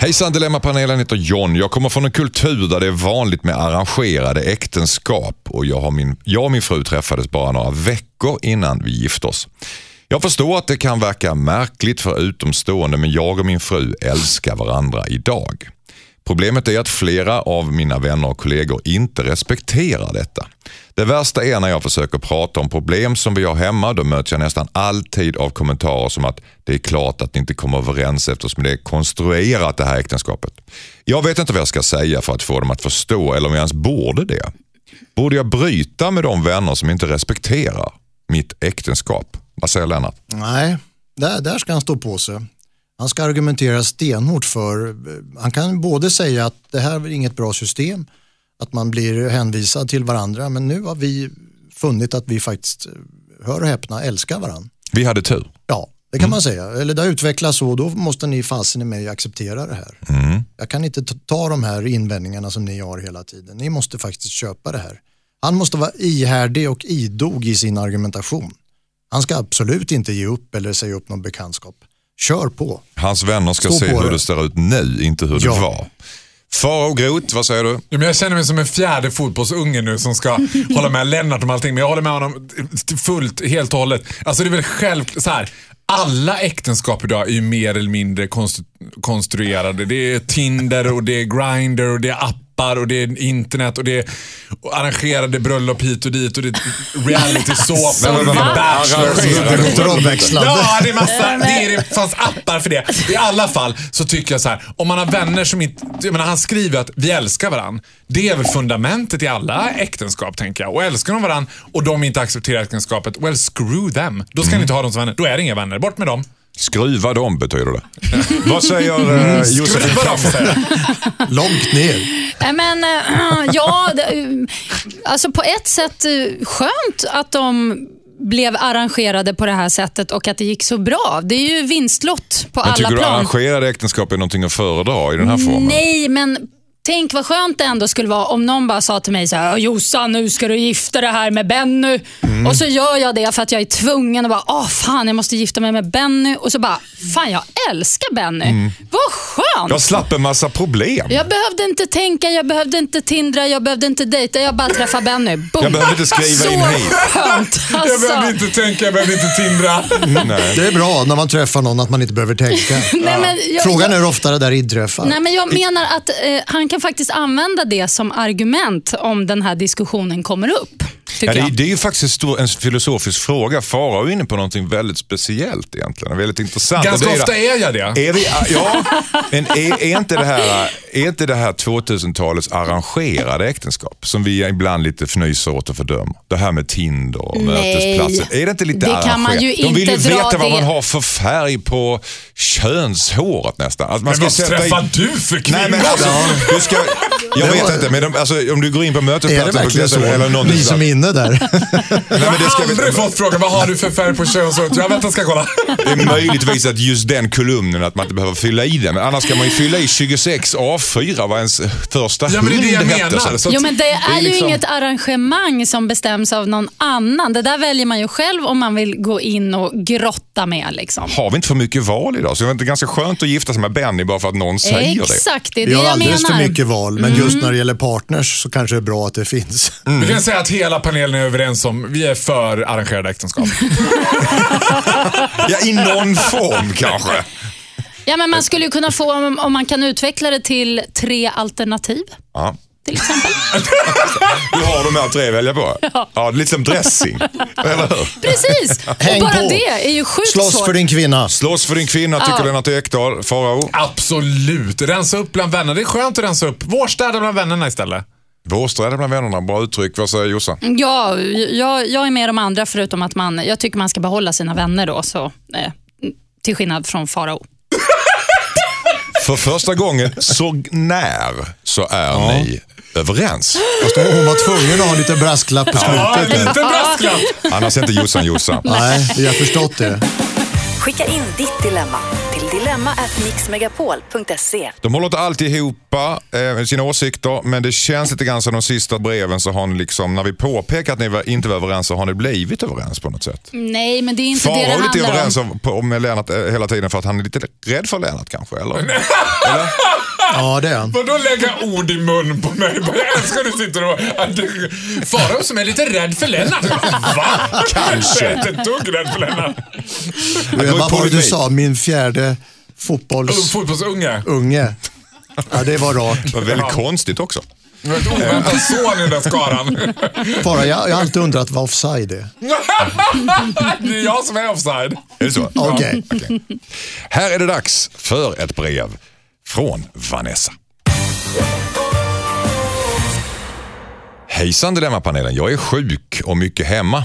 D: Hejsan Dilemmapanelen heter John. Jag kommer från en kultur där det är vanligt med arrangerade äktenskap och jag, har min, jag och min fru träffades bara några veckor innan vi gifte oss. Jag förstår att det kan verka märkligt för utomstående men jag och min fru älskar varandra idag. Problemet är att flera av mina vänner och kollegor inte respekterar detta. Det värsta är när jag försöker prata om problem som vi har hemma, då möts jag nästan alltid av kommentarer som att det är klart att ni inte kommer överens eftersom det är konstruerat det här äktenskapet. Jag vet inte vad jag ska säga för att få dem att förstå eller om jag ens borde det. Borde jag bryta med de vänner som inte respekterar mitt äktenskap? Vad säger Lennart?
C: Nej, där, där ska han stå på sig. Han ska argumentera stenhårt för, eh, han kan både säga att det här är inget bra system, att man blir hänvisad till varandra, men nu har vi funnit att vi faktiskt, eh, hör och häpna, älskar varandra.
D: Vi hade tur.
C: Ja, det
D: Mm.
C: kan man säga. Eller det har utvecklats så, då måste ni fasen i mig acceptera det här.
D: Mm.
C: Jag kan inte ta- ta de här invändningarna som ni har hela tiden. Ni måste faktiskt köpa det här. Han måste vara ihärdig och idog i sin argumentation. Han ska absolut inte ge upp eller säga upp någon bekantskap. Kör på.
D: Hans vänner ska
C: Stå
D: se
C: på
D: hur
C: det.
D: det ser ut nu, inte hur det
C: Ja.
D: var. Farao Groth, vad säger du?
B: Ja, men jag känner mig som en fjärde fotbollsunge nu som ska hålla med Lennart om allting. Men jag håller med honom t- fullt, helt och hållet. Alltså det är väl själv så här. Alla äktenskap idag är ju mer eller mindre konstru- konstruerade. Det är Tinder och det är Grindr och det är appar appar och det är internet och det är arrangerade bröllop hit och dit och det är realitysåpor och det
A: va?
B: är
D: Arrangerade
B: bachelor.
C: bröllopsväxlande.
B: Ja, det är massa. Det, är, det fanns appar för det. I alla fall så tycker jag så här. Om man har vänner som inte... Jag menar, han skriver att vi älskar varandra. Det är väl fundamentet i alla äktenskap, tänker jag. Och älskar de varandra och de inte accepterar äktenskapet, well screw them. Då ska ni inte ha dem som vänner. Då är det inga vänner. Bort med dem.
D: Skruva dem betyder det. Vad säger
A: Mm.
D: eh, Josefin
B: Skruva dem,
D: Crafoord?
B: säger jag.
C: Långt ner.
A: Nej, Men, eh, ja, det, eh, alltså på ett sätt eh, skönt att de blev arrangerade på det här sättet och att det gick så bra. Det är ju vinstlott på
D: Men
A: alla
D: tycker du
A: plan. Mm.
D: arrangerade äktenskap är någonting att föredra i den här formen?
A: Nej, men tänk vad skönt det ändå skulle vara om någon bara sa till mig så här, "Ja, Jossan nu ska du gifta dig här med Benny.
D: Mm.
A: Och så gör jag det för att jag är tvungen och bara, åh fan jag måste gifta mig med Benny. Och så bara, fan jag älskar Benny. Vad skönt!
D: Mm. Jag slapp en massa problem.
A: Jag behövde inte tänka, jag behövde inte tindra, jag behövde inte dejta. Jag bara träffade Benny. Boom.
D: Jag behövde inte skriva
A: Så
D: in hej.
A: skönt
B: Jag behöver
A: alltså.
B: inte tänka, jag behöver inte tindra.
D: Nej.
C: Det är bra när man träffar någon att man inte behöver tänka.
A: Nej, men jag,
C: Frågan är hur ofta det där inträffar.
A: Nej, men jag menar att eh, han kan faktiskt använda det som argument om den här diskussionen kommer upp.
D: Ja,
A: Tycker
D: det, är-
A: jag.
D: det är ju faktiskt en, stor, en filosofisk fråga. Farao är inne på någonting väldigt speciellt egentligen. Väldigt intressant.
B: Ganska
D: Och det är-
B: ofta är jag det.
D: Är vi, ja, men är, är, inte det här, är inte det här 2000-talets arrangerade äktenskap som vi ibland lite fnyser åt och fördömer? Det här med Tinder och
A: Nej.
D: mötesplatser. Är det inte lite
A: Det kan man
D: arrangerat?
A: ju
D: De vill ju
A: inte
D: veta
A: dra
D: vad man
A: det-
D: har för färg på könshåret nästan. Att man
B: Men vad
D: sätta in-
B: träffar du för
D: Nej, men
B: kvinnor?
D: alltså, du ska, jag vet inte, men de, alltså, om du går in på
C: är det
D: mötesplatser på
C: verkligen så?
D: kvällen eller någonting
C: Ni som är inne där.
D: Nej, men det,
B: Jag har
D: ska,
B: aldrig fått frågan vad har du för färg på könshåret. Jag väntar ska jag kolla.
D: det är möjligtvis att just den kolumnen, att man inte behöver fylla i den. Men annars ska man ju fylla i 26 A4, vad ens första
B: Ja, men det är det jag
D: hund hette,
B: menar.
D: Så.
B: Så
A: Jo,
B: att-
A: men det är,
D: det är liksom-
A: ju inget arrangemang som bestäms av någon annan. Det där väljer man ju själv om man vill gå in och grotta med. Liksom.
D: Har vi inte för mycket val idag? Så det är inte ganska skönt att gifta sig med Benny bara för att någon säger det?
A: Exakt, det är det
C: Vi har
A: jag
C: alldeles
A: menar. Mm.
C: för mycket val, men just när det gäller partners så kanske det är bra att det finns.
B: Vi kan säga att hela panelen är överens om vi är för arrangerade äktenskap.
D: Ja, i någon form kanske.
A: Ja, men man skulle ju kunna få, om, om man kan utveckla det till tre alternativ.
D: Ja.
A: Till exempel.
D: Du har de här tre att välja på? Ja, det är lite som dressing. Eller hur?
A: Precis!
C: Häng
A: Och bara
C: på.
A: det är ju sjukt
C: Slåss
A: svårt.
C: för din kvinna.
D: Slåss för din kvinna, tycker Lennart Ekdahl. Farao?
B: Absolut. Rensa upp bland vänner. Det är skönt att rensa upp. Vårstäda bland vännerna istället.
D: Vårsträda bland vännerna, bra uttryck. Vad säger Jossan?
A: Ja, jag, jag är med de andra förutom att man, jag tycker man ska behålla sina vänner då. Så, eh, till skillnad från Farao.
D: För första gången, så när, så är ni överens.
C: Fast hon hon var tvungen att ha en liten brasklapp på
B: Ja, en
C: slutet.
B: liten Typ brasklapp.
D: Annars är inte Jossan Jossan.
C: Nej, vi har förstått det.
F: Skicka in ditt dilemma till dilemma@mixmegapol.se.
D: De håller inte alltid ihop eh, sina åsikter, men det känns lite grann som de sista breven så har ni liksom, när vi påpekar att ni var- inte var överens så har ni blivit överens på något sätt.
A: Nej, men det är inte det det
D: Farao är lite
A: handlar
D: överens
A: om.
D: om, på- om med Lennart eh, hela tiden för att han är lite rädd för Lennart kanske, eller? eller?
C: Ja, det är han.
B: Vadå lägga ord i mun på mig? Jag älskar att du sitter och... Farao som är lite rädd för Lennart. Va? Kanske. Jag är inte ett dugg rädd för Lennart.
D: går i
C: Vad var det du
D: polemik.
C: sa? Min fjärde
B: Oh,
C: fotbollsunge.
B: Fotbollsunge.
C: Ja, det var rart.
D: Det var väldigt konstigt också.
B: Det var ett oväntat son i den där skaran.
C: Bara, jag, jag har alltid undrat vad offside är.
B: Det är jag som är offside.
D: Är det så?
C: Okej.
D: Okej. Här är det dags för ett brev från Vanessa. Hejsan Dilemmapanelen, jag är sjuk och mycket hemma.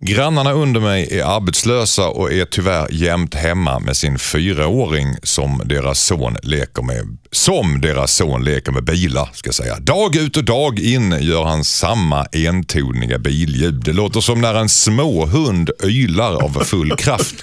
D: Grannarna under mig är arbetslösa och är tyvärr jämt hemma med sin fyraåring som deras son leker med, som deras son leker med bilar. Ska jag säga. Dag ut och dag in gör han samma entoniga billjud. Det låter som när en småhund ylar av full kraft.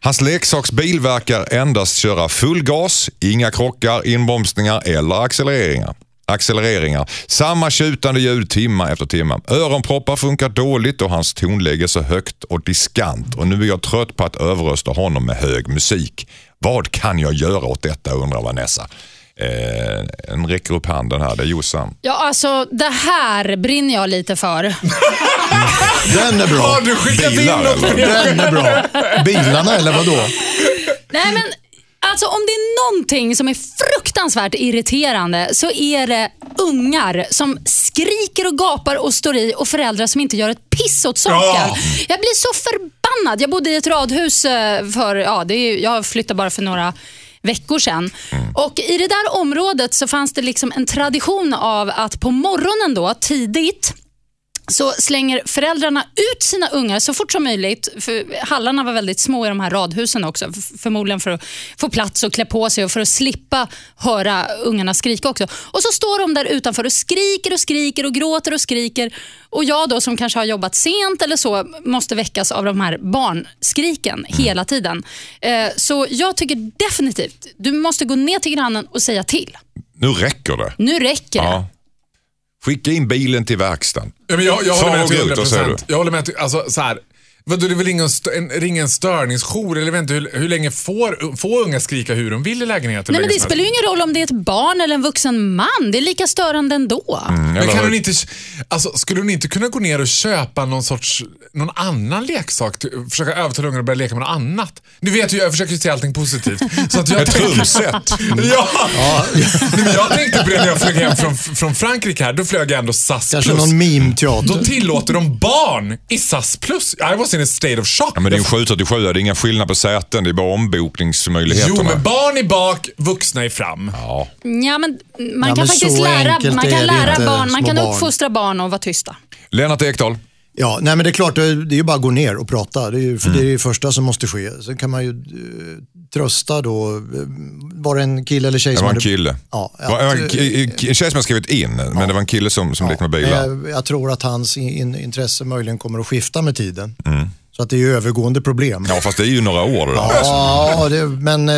D: Hans leksaksbil verkar endast köra full gas, inga krockar, inbromsningar eller accelereringar. Accelereringar. Samma tjutande ljud timma efter timma. Öronproppar funkar dåligt och hans tonläge är så högt och diskant. Och nu är jag trött på att överrösta honom med hög musik. Vad kan jag göra åt detta undrar Vanessa. Eh, en räcker upp handen här, det är Jossan.
A: Ja, alltså det här brinner jag lite för.
C: Den är bra.
B: Har du skickat in
D: Bilar,
B: något?
D: eller?
B: mer?
C: Den är bra. Bilarna eller vadå?
A: Nej, men Alltså om det är någonting som är fruktansvärt irriterande så är det ungar som skriker och gapar och står i och föräldrar som inte gör ett piss åt saken.
B: Ja.
A: Jag blir så förbannad. Jag bodde i ett radhus eh, för, ja, det är, ju- jag flyttade bara för några veckor sedan. Och I det där området så fanns det liksom en tradition av att på morgonen då, tidigt, så slänger föräldrarna ut sina ungar så fort som möjligt. För hallarna var väldigt små i de här radhusen också. f- Förmodligen för att få plats och klä på sig och för att slippa höra ungarna skrika också. Och så står de där utanför och skriker och skriker och gråter och skriker. Och jag då som kanske har jobbat sent eller så måste väckas av de här barnskriken hela tiden. Eh, Så jag tycker definitivt, du måste gå ner till grannen och säga till.
D: Nu räcker det.
A: Nu räcker det.
D: Ja. Skicka in bilen till verkstaden.
B: Ja, men jag, jag
D: Ta
B: håller med till
D: och gå ut
B: 100
D: och säg du.
B: procent. Jag håller med till, alltså, så här. Vadå, det är väl ingen, st- en, ring en störningsjour? Eller jag vet inte, hur, hur länge får, får unga skrika hur de vill i lägenheten? liksom?
A: Nej, men
B: Länge
A: det
B: som
A: spelar ju
B: helst.
A: ingen roll om det är ett barn eller en vuxen man. Det är lika störande ändå.
C: Mm.
B: men kan
D: Mm, Eller-
B: hon inte, alltså, skulle hon inte kunna gå ner och köpa någon sorts någon annan leksak? Till, försöka övertala ungarna att börja leka med något annat? Du vet ju, jag försöker ju se allting positivt. Så att jag
D: Ett
B: tänker-
D: trumset.
B: Ja. Nej, men jag tänkte på det när jag flög hem från, från Frankrike. här. Då flög jag ändå SAS
C: Kanske
B: plus.
C: någon
B: Då
C: meme-teater.
B: tillåter de barn i SAS plus. I was in a state of shock.
D: Ja, men det är en 737, det är inga skillnad på säten, det är bara ombokningsmöjligheterna.
B: Jo, men barn i bak, vuxna i fram.
C: Mm.
D: ja.
A: Ja, men man
C: Ja,
A: kan
C: men
A: faktiskt
C: så
A: lära,
C: enkelt
A: man
C: är
A: kan
C: det
A: lära
C: inte,
A: barn, man
C: små
A: kan
C: barn.
A: uppfostra barn och vara tysta.
D: Lennart Ekdahl,
C: Ja, nej men det är klart, det är det är ju bara att gå ner och prata. Det är ju för det, är
D: Mm.
C: det första som måste ske. Sen kan man ju eh, trösta då, eh, var det en kille eller tjej
D: det
C: som
D: var en
C: hade-
D: kille.
C: Ja,
D: Det var en,
C: att, eh,
D: ki- ki- en tjej som har skrivit in, men det var en kille som, som lekte med
C: Men
D: bilar.
C: eh, Jag, jag tror att hans in, in, intresse möjligen kommer att skifta med tiden. Så att det är ju övergående problem.
D: Mm. Ja, fast det är ju några år. det där.
C: Ja, det, men... eh,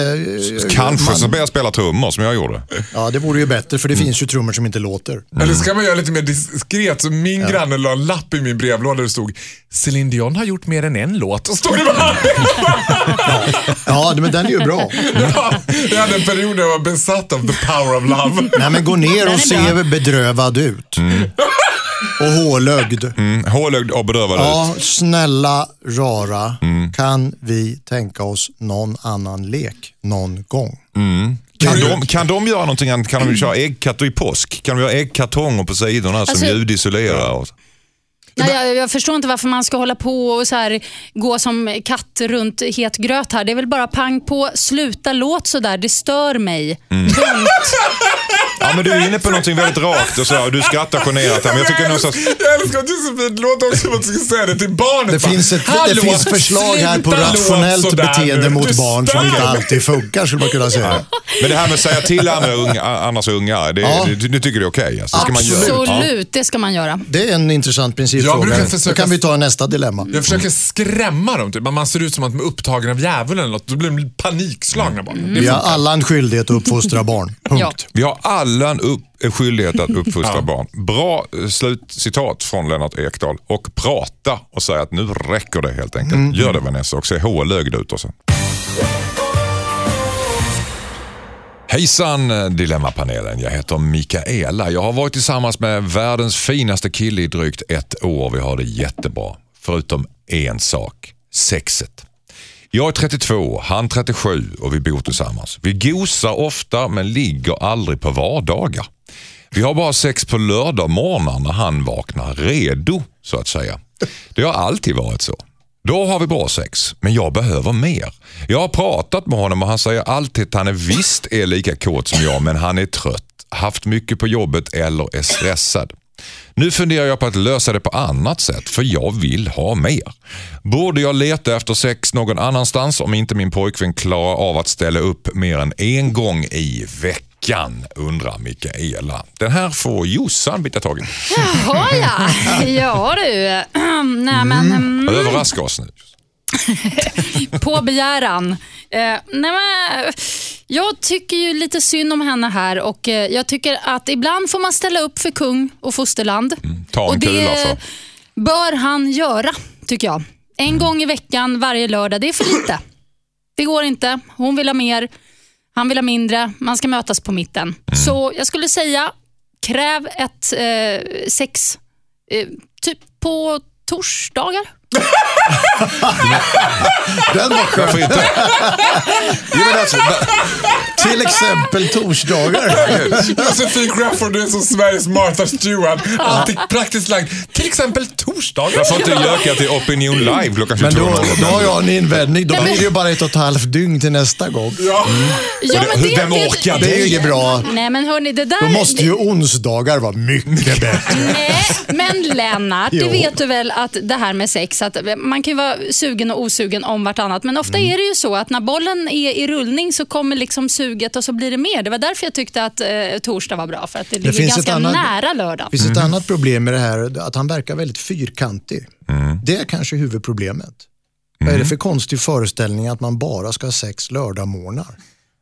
D: Kanske
C: man-
D: så Mm. börjar jag spela trummor som jag gjorde.
C: Ja, det vore ju bättre för det finns ju trummor som inte låter.
B: Eller så kan man göra lite mer diskret. Så min granne la en lapp i min brevlåda där det stod Céline Dion har gjort mer än en låt. Och stod det bara.
C: Ja, men den är ju bra.
B: Ja, jag hade en period där jag var besatt av the power of love.
C: Nej, men gå ner
A: är
C: och se bedrövad ut. Och hålögd.
D: Mm, Hålögd och bedövad ut.
C: Ja, snälla rara,
B: Mm.
C: kan vi tänka oss någon annan lek någon gång?
B: Mm.
D: Kan de, kan de göra någonting annat? Kan de köra äggkatter i påsk? Kan de göra äggkartonger på sidorna
A: Alltså-
D: som ljudisolerar? Och...
A: Nej, jag, jag förstår inte varför man ska hålla på och så här, gå som katt runt het gröt här. Det är väl bara pang på, sluta låt sådär, det stör mig. Punkt.
D: Ja, men du är inne på någonting väldigt rakt och så, och du skrattar generat. här, Men jag tycker någonstans...
B: Jag älskar att Josefin låter också som att du ska säga det till barnet.
C: Det
B: Bara,
C: finns, ett,
B: "Hallå,
C: det finns förslag här på
B: sluta låt
C: rationellt
B: sådär
C: beteende
B: nu. Du
C: mot barn
B: stör
C: som inte
B: mig."
C: alltid funkar skulle man kunna säga.
D: Men det här med att säga till andra unga, annars unga, det,
C: Ja.
D: det, du, tycker det är okej? alltså, det ska man göra. Ja.
A: Absolut, det ska man göra.
C: Det är en intressant
B: Jag brukar
C: principfråga. Då
B: försöka-
C: kan vi ta nästa dilemma.
B: Jag försöker skrämma dem. Typ. Man- Man ser ut som att de är upptagna av djävulen eller något. Då blir de panikslagna bara. Det
C: Vi
B: är
C: har alla en skyldighet att uppfostra barn.
A: Ja.
C: Punkt.
D: Vi har alla en upp, en skyldighet att uppfostra barn. Bra eh, slutcitat från Lennart Ekdahl. Och prata och säga att nu räcker det helt enkelt. Gör det Vanessa och se hålögd ut och så. Hejsan eh, Dilemmapanelen, jag heter Mikaela. Jag har varit tillsammans med världens finaste kille i drygt ett år. Vi har det jättebra. Förutom en sak, sexet. Jag är 32, han 37 och vi bor tillsammans. Vi gosar ofta men ligger aldrig på vardagar. Vi har bara sex på lördagmorgnar när han vaknar redo, så att säga. Det har alltid varit så. Då har vi bra sex, men jag behöver mer. Jag har pratat med honom och han säger alltid att han är visst är lika kåt som jag, men han är trött, haft mycket på jobbet eller är stressad. Nu funderar jag på att lösa det på annat sätt, för jag vill ha mer. Borde jag leta efter sex någon annanstans om inte min pojkvän klarar av att ställa upp mer än en gång i veckan? Undrar Mikaela. Den här får Jossan bita tag i.
A: Jaha ja. Ja du. Nej, men, mm.
D: Överraska oss nu.
A: på begäran. Eh, nej men, jag tycker ju lite synd om henne här och eh, jag tycker att ibland får man ställa upp för kung och fosterland.
D: Mm, Ta
A: och
D: en alltså. kula för.
A: det bör han göra, tycker jag. En
D: Mm.
A: gång i veckan, varje lördag. Det är för lite. Det går inte. Hon vill ha mer, han vill ha mindre. Man ska mötas på mitten.
D: Mm.
A: Så jag skulle säga, kräv ett eh, sex eh, typ på torsdagar.
C: Den var skön.
D: Varför inte? Jo, men alltså, va-
C: Till exempel torsdagar.
B: Josefin Crawford du är som Sveriges Martha Stewart. Alltid praktiskt lagd. Till exempel torsdagar.
D: varför inte göka till Opinion Live klockan
C: Men då,
D: 22.00?
C: då har jag en invändning. Då
A: Nej, men-
C: blir det ju bara ett och ett halvt dygn till nästa gång.
B: Ja.
A: Ja, men det,
D: Vem orkar
C: Det är ju inget bra.
A: Nej, men hörni, det där...
C: Då måste ju onsdagar vara mycket bättre.
A: Nej, men Lennart, du
C: Jo.
A: vet du väl att det här med sex, att man kan ju vara sugen och osugen om vartannat, men ofta
C: Mm.
A: är det ju så att när bollen är i rullning så kommer liksom suget och så blir det mer. Det var därför jag tyckte att eh, torsdag var bra, för att det, ligger
C: finns ett
A: ganska
C: annat-
A: nära lördag. Mm.
C: Det finns ett annat problem med det här, att han verkar väldigt fyrkantig.
D: Mm.
C: Det är kanske huvudproblemet. Vad är det för konstig föreställning att man bara ska ha sex lördagmorgnar?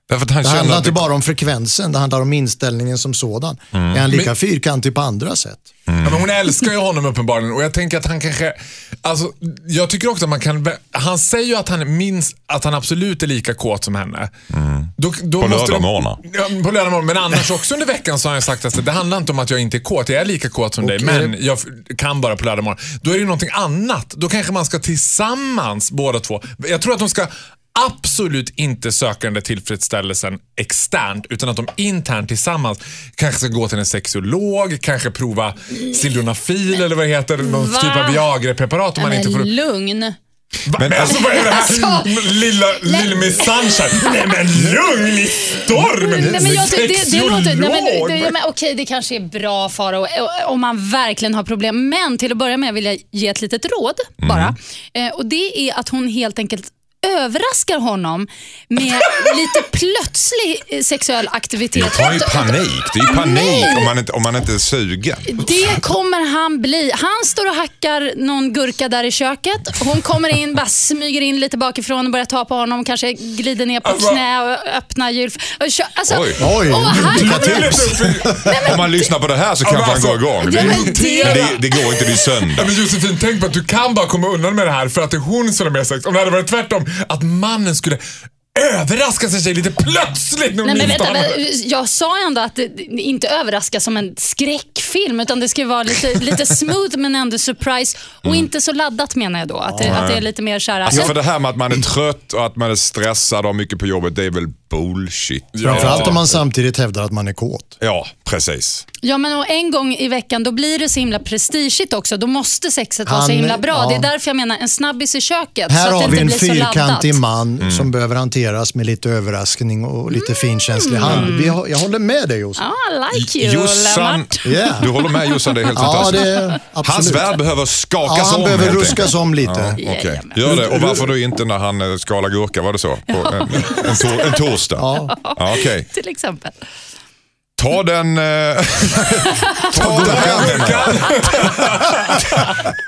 D: Därför att han
C: Det
D: känner
C: handlar
D: att
C: inte
D: det, Mm.
C: bara om frekvensen, det handlar om inställningen som sådan. Är han lika fyrkantig på andra sätt?
B: Ja, men hon älskar ju honom uppenbarligen och jag tänker att han kanske... Alltså, jag tycker också att man kan... Han säger ju att han minns att han absolut är lika kåt som henne. Då, då
D: Mm. På
B: måste det-
D: lördagmorgnar.
B: Ja, på lördag morgon, men annars också under veckan så har jag sagt att det handlar inte om att jag inte är kåt. Jag är lika kåt som dig, men jag f- kan bara på lördag morgon. Då är det ju någonting annat. Då kanske man ska tillsammans båda två. Jag tror att de ska absolut inte söka den där tillfredsställelsen externt, utan att de internt tillsammans kanske ska gå till en sexolog, kanske prova Sildenafil eller vad det heter, någon
A: Va?
B: typ av Viagra-preparat om man
A: Men
B: inte får upp.
A: lugn.
B: Va? Men alltså vad är det här? Lilla, lilla Miss Sunshine. Nej men lugn i storm!
A: Nej, men jag, det, det, det låter, nej, men,
B: Sexolog.
A: det, men, okej, det kanske är bra Farao eh, om man verkligen har problem. Men till att börja med vill jag ge ett litet råd bara. Eh, och Det är att hon helt enkelt överraskar honom med lite plötslig eh, sexuell aktivitet.
D: det är ju panik. Det är ju panik om man inte, om man inte är sugen.
A: Det kommer han bli. Han står och hackar någon gurka där i köket. Hon kommer in, bara smyger in lite bakifrån och börjar ta på honom. Kanske glider ner på
B: Alltså-
A: knä och öppnar jul... och kö- Alltså,
D: Oj.
C: Oj,
A: och
C: vilka
A: han,
C: tips!
D: Om man lyssnar på det här så kanske han
B: alltså,
D: går igång.
A: ja,
D: Det,
A: men det-
D: men det, det går inte, det är
B: Ja,
D: söndag.
B: men Josefin, tänk på att du kan bara komma undan med det här för att det är hon som har mer sex. Om det hade varit tvärtom, att mannen skulle överraska sin tjej lite plötsligt när hon
A: Nej, men
B: minst
A: vänta,
B: anar det.
A: men jag sa ändå att det det inte överraska som en skräckfilm, utan det ska vara lite, lite smooth men ändå surprise. Och
C: Mm.
A: inte så laddat menar jag då. Att det, att det är lite mer så här...
D: Alltså för det här med att man är trött och att man är stressad och har mycket på jobbet, det är väl bullshit.
C: Framförallt om man samtidigt hävdar att man är kåt.
D: Ja, precis.
A: Ja, men och en gång i veckan då blir det så himla prestigigt också. Då måste sexet vara så
C: Han-
A: himla bra.
C: ja.
A: Det är därför jag menar en snabbis i köket. så
C: Här
A: att det
C: har vi
A: inte
C: en
A: blir så laddat.
C: fyrkantig man
D: Mm.
C: som behöver hanteras med lite överraskning och lite finkänslig hand.
D: Mm.
C: Vi har, jag håller med dig Josef.
A: Ja, I like you,
D: Jossan,
A: Lennart.
C: Yeah.
D: du håller med Jossan, det är helt
C: Ja,
D: fantastiskt.
C: det,
D: Hans
C: absolut.
D: värld behöver skakas
C: Ja, han
D: om.
C: behöver
D: helt
C: ruskas om lite.
D: enkelt. Okej, gör det. Och varför då inte när han eh, skalar gurka, var det så? På en, en, tor- en torsdag? Ja. Okej,
A: Till exempel.
D: ta den... eh, ta, det här,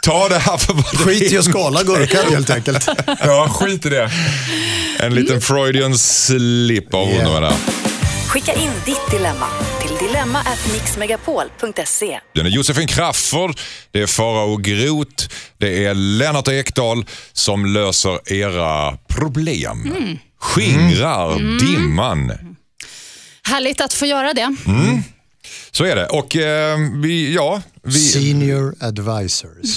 D: ta det här för vad det
C: Skit i att skala gurkan helt enkelt.
B: Ja, skit i det.
D: En liten Freudian slip av
C: Yeah.
D: honom.
F: Skicka in ditt dilemma till dilemma@mixmegapol.se.
D: Det är Josefin Crafoord, det är Farao Groth, det är Lennart Ekdal som löser era problem. Skingrar dimman.
A: Härligt att få göra det.
C: Mm.
D: Så är det. Och eh, vi, ja, vi,
C: Senior advisors.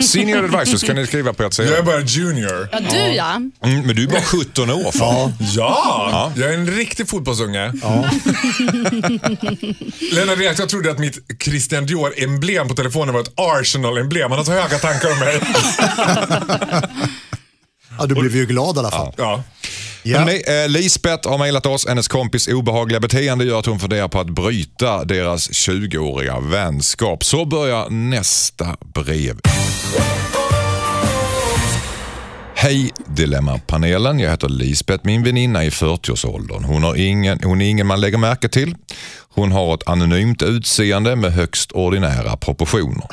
D: senior advisors kan ni skriva på ert
B: Jag är
D: CV.
B: bara junior.
A: Ja, du ja.
D: Mm, men du är bara 17 år. Fan.
C: Ja.
B: Ja, jag är en riktig fotbollsunge. Ja. Lennart Ek, jag trodde att mitt Christian Dior-emblem på telefonen var ett Arsenal-emblem. alltså, Han har så höga tankar om mig.
C: ja, du blev ju glad i alla fall.
B: Ja.
C: Ja.
D: Hörrni, eh, Lisbeth har mejlat oss. Hennes kompis obehagliga beteende gör att hon funderar på att bryta deras 20-åriga vänskap. Så börjar nästa brev. Hej Dilemmapanelen, jag heter Lisbeth. Min väninna i 40-årsåldern. Hon, har ingen, hon är ingen man lägger märke till. Hon har ett anonymt utseende med högst ordinära proportioner.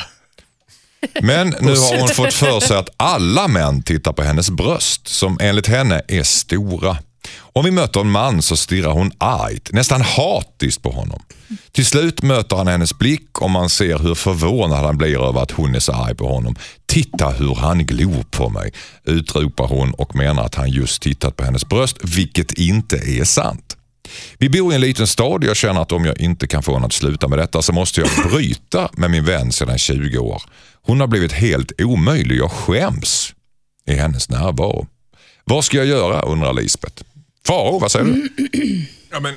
D: Men nu har hon fått för sig att alla män tittar på hennes bröst som enligt henne är stora. Om vi möter en man så stirrar hon argt, nästan hatiskt på honom. Till slut möter han hennes blick och man ser hur förvånad han blir över att hon är så arg på honom. Titta hur han glor på mig, utropar hon och menar att han just tittat på hennes bröst, vilket inte är sant. Vi bor i en liten stad och jag känner att om jag inte kan få henne att sluta med detta så måste jag bryta med min vän sedan 20 år. Hon har blivit helt omöjlig, jag skäms. i hennes närvaro. Vad ska jag göra undrar Lisbeth. Faro, vad säger
C: Mm.
D: du?
B: Ja, men,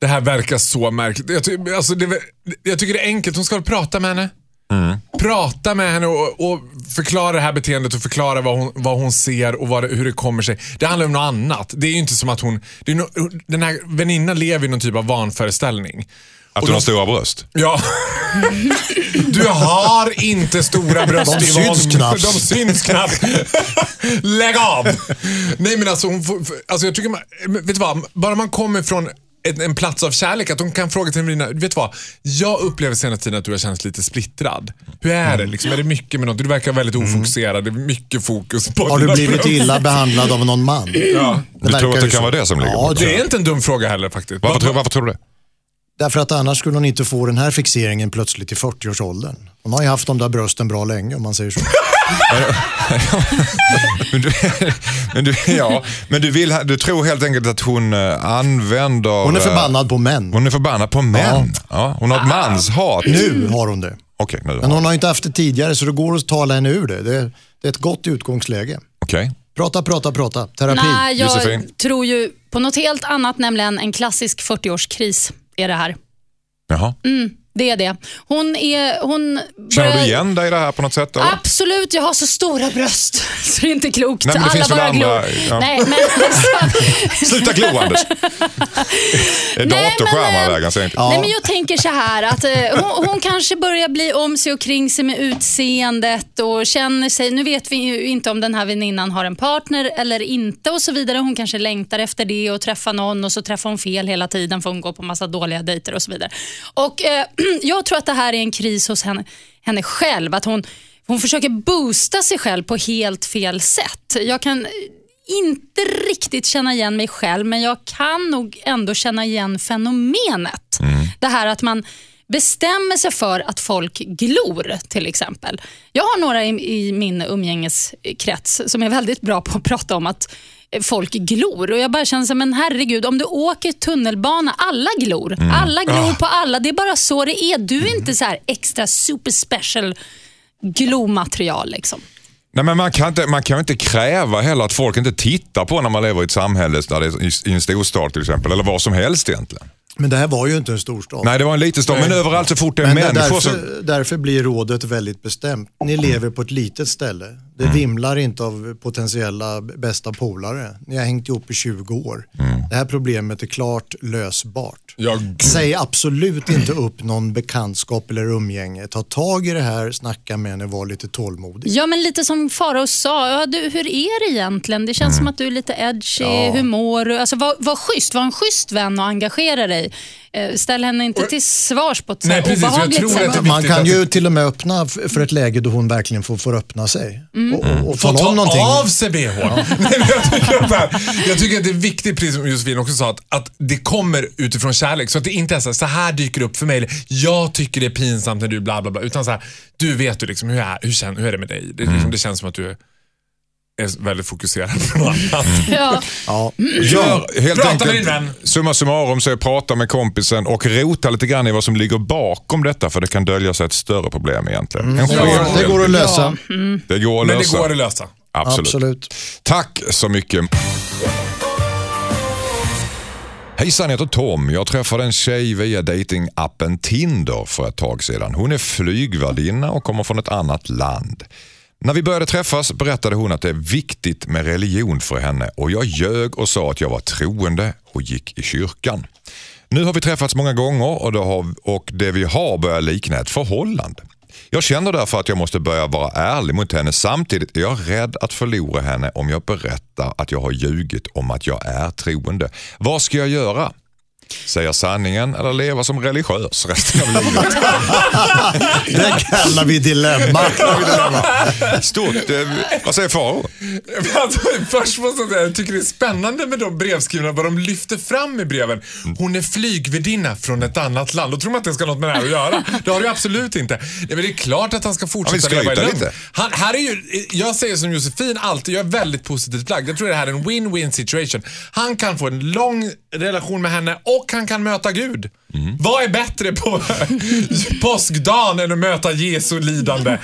B: det här verkar så märkligt. Jag, ty- alltså, det, jag tycker det är enkelt. Hon ska väl prata med henne. Prata med henne och, och förklara det här beteendet och förklara vad hon, vad hon ser och vad det, hur det kommer sig. Det handlar om något annat. Det är ju inte som att hon... Det är no, den här väninnan lever i någon typ av vanföreställning.
D: Att hon har stora bröst?
B: Ja. Du har inte stora bröst
C: De
B: Yvonne.
C: syns knappt.
B: De syns knappt. Lägg av! Nej men alltså, hon får, alltså jag tycker man, men vet du vad? Bara man kommer från en, en plats av kärlek, att de kan fråga till en väninna, vet du vad? Jag upplever senaste tiden att du har känts lite splittrad. Hur är
C: Mm.
B: det? Liksom, är det mycket med något? Du verkar väldigt ofokuserad. Det är mycket fokus på
C: Har du
B: dina
C: blivit
B: bröst.
C: illa behandlad av någon man? Ja.
D: Du tror att det kan vara det som ligger
C: ja,
D: bakom?
C: det
B: Det är inte en dum fråga heller faktiskt.
D: Varför, tror- varför tror du det?
C: Därför att annars skulle hon inte få den här fixeringen plötsligt i 40-årsåldern. Hon har ju haft de där brösten bra länge om man säger så.
D: Men du, men du, ja, men du, vill, du tror helt enkelt att hon eh, använder...
C: Hon är
D: eh,
C: förbannad på män.
D: Hon är förbannad på män. Ja. hon har ett manshat.
C: Nu har hon det.
D: Okej, nu.
C: Men hon har ju inte haft det tidigare så det går att tala henne ur det. Det, det är ett gott utgångsläge.
D: Okej.
C: Prata, prata, prata. Terapi.
A: Nej, jag
D: Josefin?
A: tror ju på något helt annat, nämligen en klassisk 40-årskris är det här.
D: Jaha.
A: Det är det. Hon är... Hon
D: Känner du
A: börjar-
D: igen dig i det här på något sätt? Eller?
A: Absolut, jag har så stora bröst så det är inte klokt.
D: Nej, men det
A: Alla
D: finns väl
A: våra
D: andra-
A: glor-
D: ja.
A: Nej, men alltså,
D: Sluta glo Anders! Är
A: men,
D: datorskärmar
A: eh,
D: vägen sänkt?
A: Nej, men jag tänker så här att eh, hon, hon kanske börjar bli om sig och kring sig med utseendet och känner sig, nu vet vi ju inte om den här väninnan har en partner eller inte och så vidare. Hon kanske längtar efter det och träffar någon och så träffar hon fel hela tiden för hon går på massa dåliga dejter och så vidare. Och eh, jag tror att det här är en kris hos henne, henne själv, att hon, hon försöker boosta sig själv på helt fel sätt. Jag kan inte riktigt känna igen mig själv, men jag kan nog ändå känna igen fenomenet. Det här att man bestämmer sig för att folk glor till exempel. Jag har några i, i min umgängeskrets som är väldigt bra på att prata om att eh, folk glor och jag bara känner så här, men herregud om du åker tunnelbana, alla glor. Alla glor på alla, det är bara så det är. Du är inte så här extra super special glomaterial liksom.
D: Nej, men man kan inte, man kan ju inte kräva heller att folk inte tittar på när man lever i ett samhälle, där det är, i, i en storstad till exempel, eller vad som helst egentligen.
C: Men det här var ju inte en storstad.
D: Nej, det var en liten stad, men överallt så fort det är
C: Men
D: människor
C: därför,
D: så...
C: därför blir rådet väldigt bestämt. Ni lever på ett litet ställe. Det
B: Mm.
C: vimlar inte av potentiella bästa polare. Ni har hängt ihop i 20 år. Det här problemet är klart lösbart.
B: Mm. Jag
C: Säg absolut inte upp någon bekantskap eller umgänge. Ta tag i det här, snacka med henne, var lite tålmodig.
A: Ja, men lite som Farao sa, ja, du, hur är det egentligen? Det
B: Mm.
A: känns som att du är lite edgy, hur mår du? Alltså, var, var schysst, var en schysst vän och engagera dig. Eh, ställ henne inte till svars på ett så
B: Nej,
A: här
B: precis, jag
A: obehagligt
B: tror
A: sätt.
B: att det-
C: Man
B: viktigt
C: kan
B: att-
C: ju till och med öppna f- för ett läge då hon verkligen får, får öppna sig. Och, och, och
B: Få
C: tala om
B: Mm. ta
C: någonting.
B: av sig bh. Nej, men jag, tycker att det här, jag tycker att det är viktigt, precis som Josefin också sa, att, att det kommer utifrån kärlek. Så att det inte är så här, så här dyker det upp för mig. eller Jag tycker det är pinsamt när du bla bla bla. Utan så här, du vet ju liksom, hur, är, hur, kän, hur är det med dig? Det, liksom, det känns som att du är är väldigt fokuserad på något annat.
A: Ja.
C: Ja.
B: Mm.
D: Gör, helt
B: Prata
D: enkelt,
B: med din vän.
D: Summa summarum, så prata med kompisen och rota lite grann i vad som ligger bakom detta, för det kan dölja sig ett större problem egentligen. En skev-
C: Ja, det går att lösa.
D: det går att
B: Men det
D: lösa.
B: går att lösa.
D: Absolut.
C: Absolut.
D: Tack så mycket. Hejsan, jag heter Tom. Jag träffade en tjej via datingappen Tinder för ett tag sedan. Hon är flygvärdinna och kommer från ett annat land. När vi började träffas berättade hon att det är viktigt med religion för henne och jag ljög och sa att jag var troende och gick i kyrkan. Nu har vi träffats många gånger och det, har, och det vi har börjar likna ett förhållande. Jag känner därför att jag måste börja vara ärlig mot henne. Samtidigt är jag rädd att förlora henne om jag berättar att jag har ljugit om att jag är troende. Vad ska jag göra? Säga sanningen eller leva som religiös resten av livet?
C: Det kallar vi dilemma.
D: Stort. Eh, vad säger Faro?
B: Men Alltså, först måste jag säga, jag tycker det är spännande med de brevskrivarna, vad de lyfter fram i breven.
D: Mm.
B: Hon är flygvärdinna från ett annat land. Då tror man att det ska ha något med det här att göra. Det har det ju absolut inte. Nej, men det är klart att han ska
D: Ja,
B: fortsätta
D: men skryta
B: leva i lugn.
D: lite.
B: Han, här är ju, jag säger som Josefin alltid, jag är väldigt positivt lagd. Jag tror det här är en win-win situation. Han kan få en lång relation med henne och han kan möta Gud. Vad är bättre på påskdagen än att möta Jesu lidande?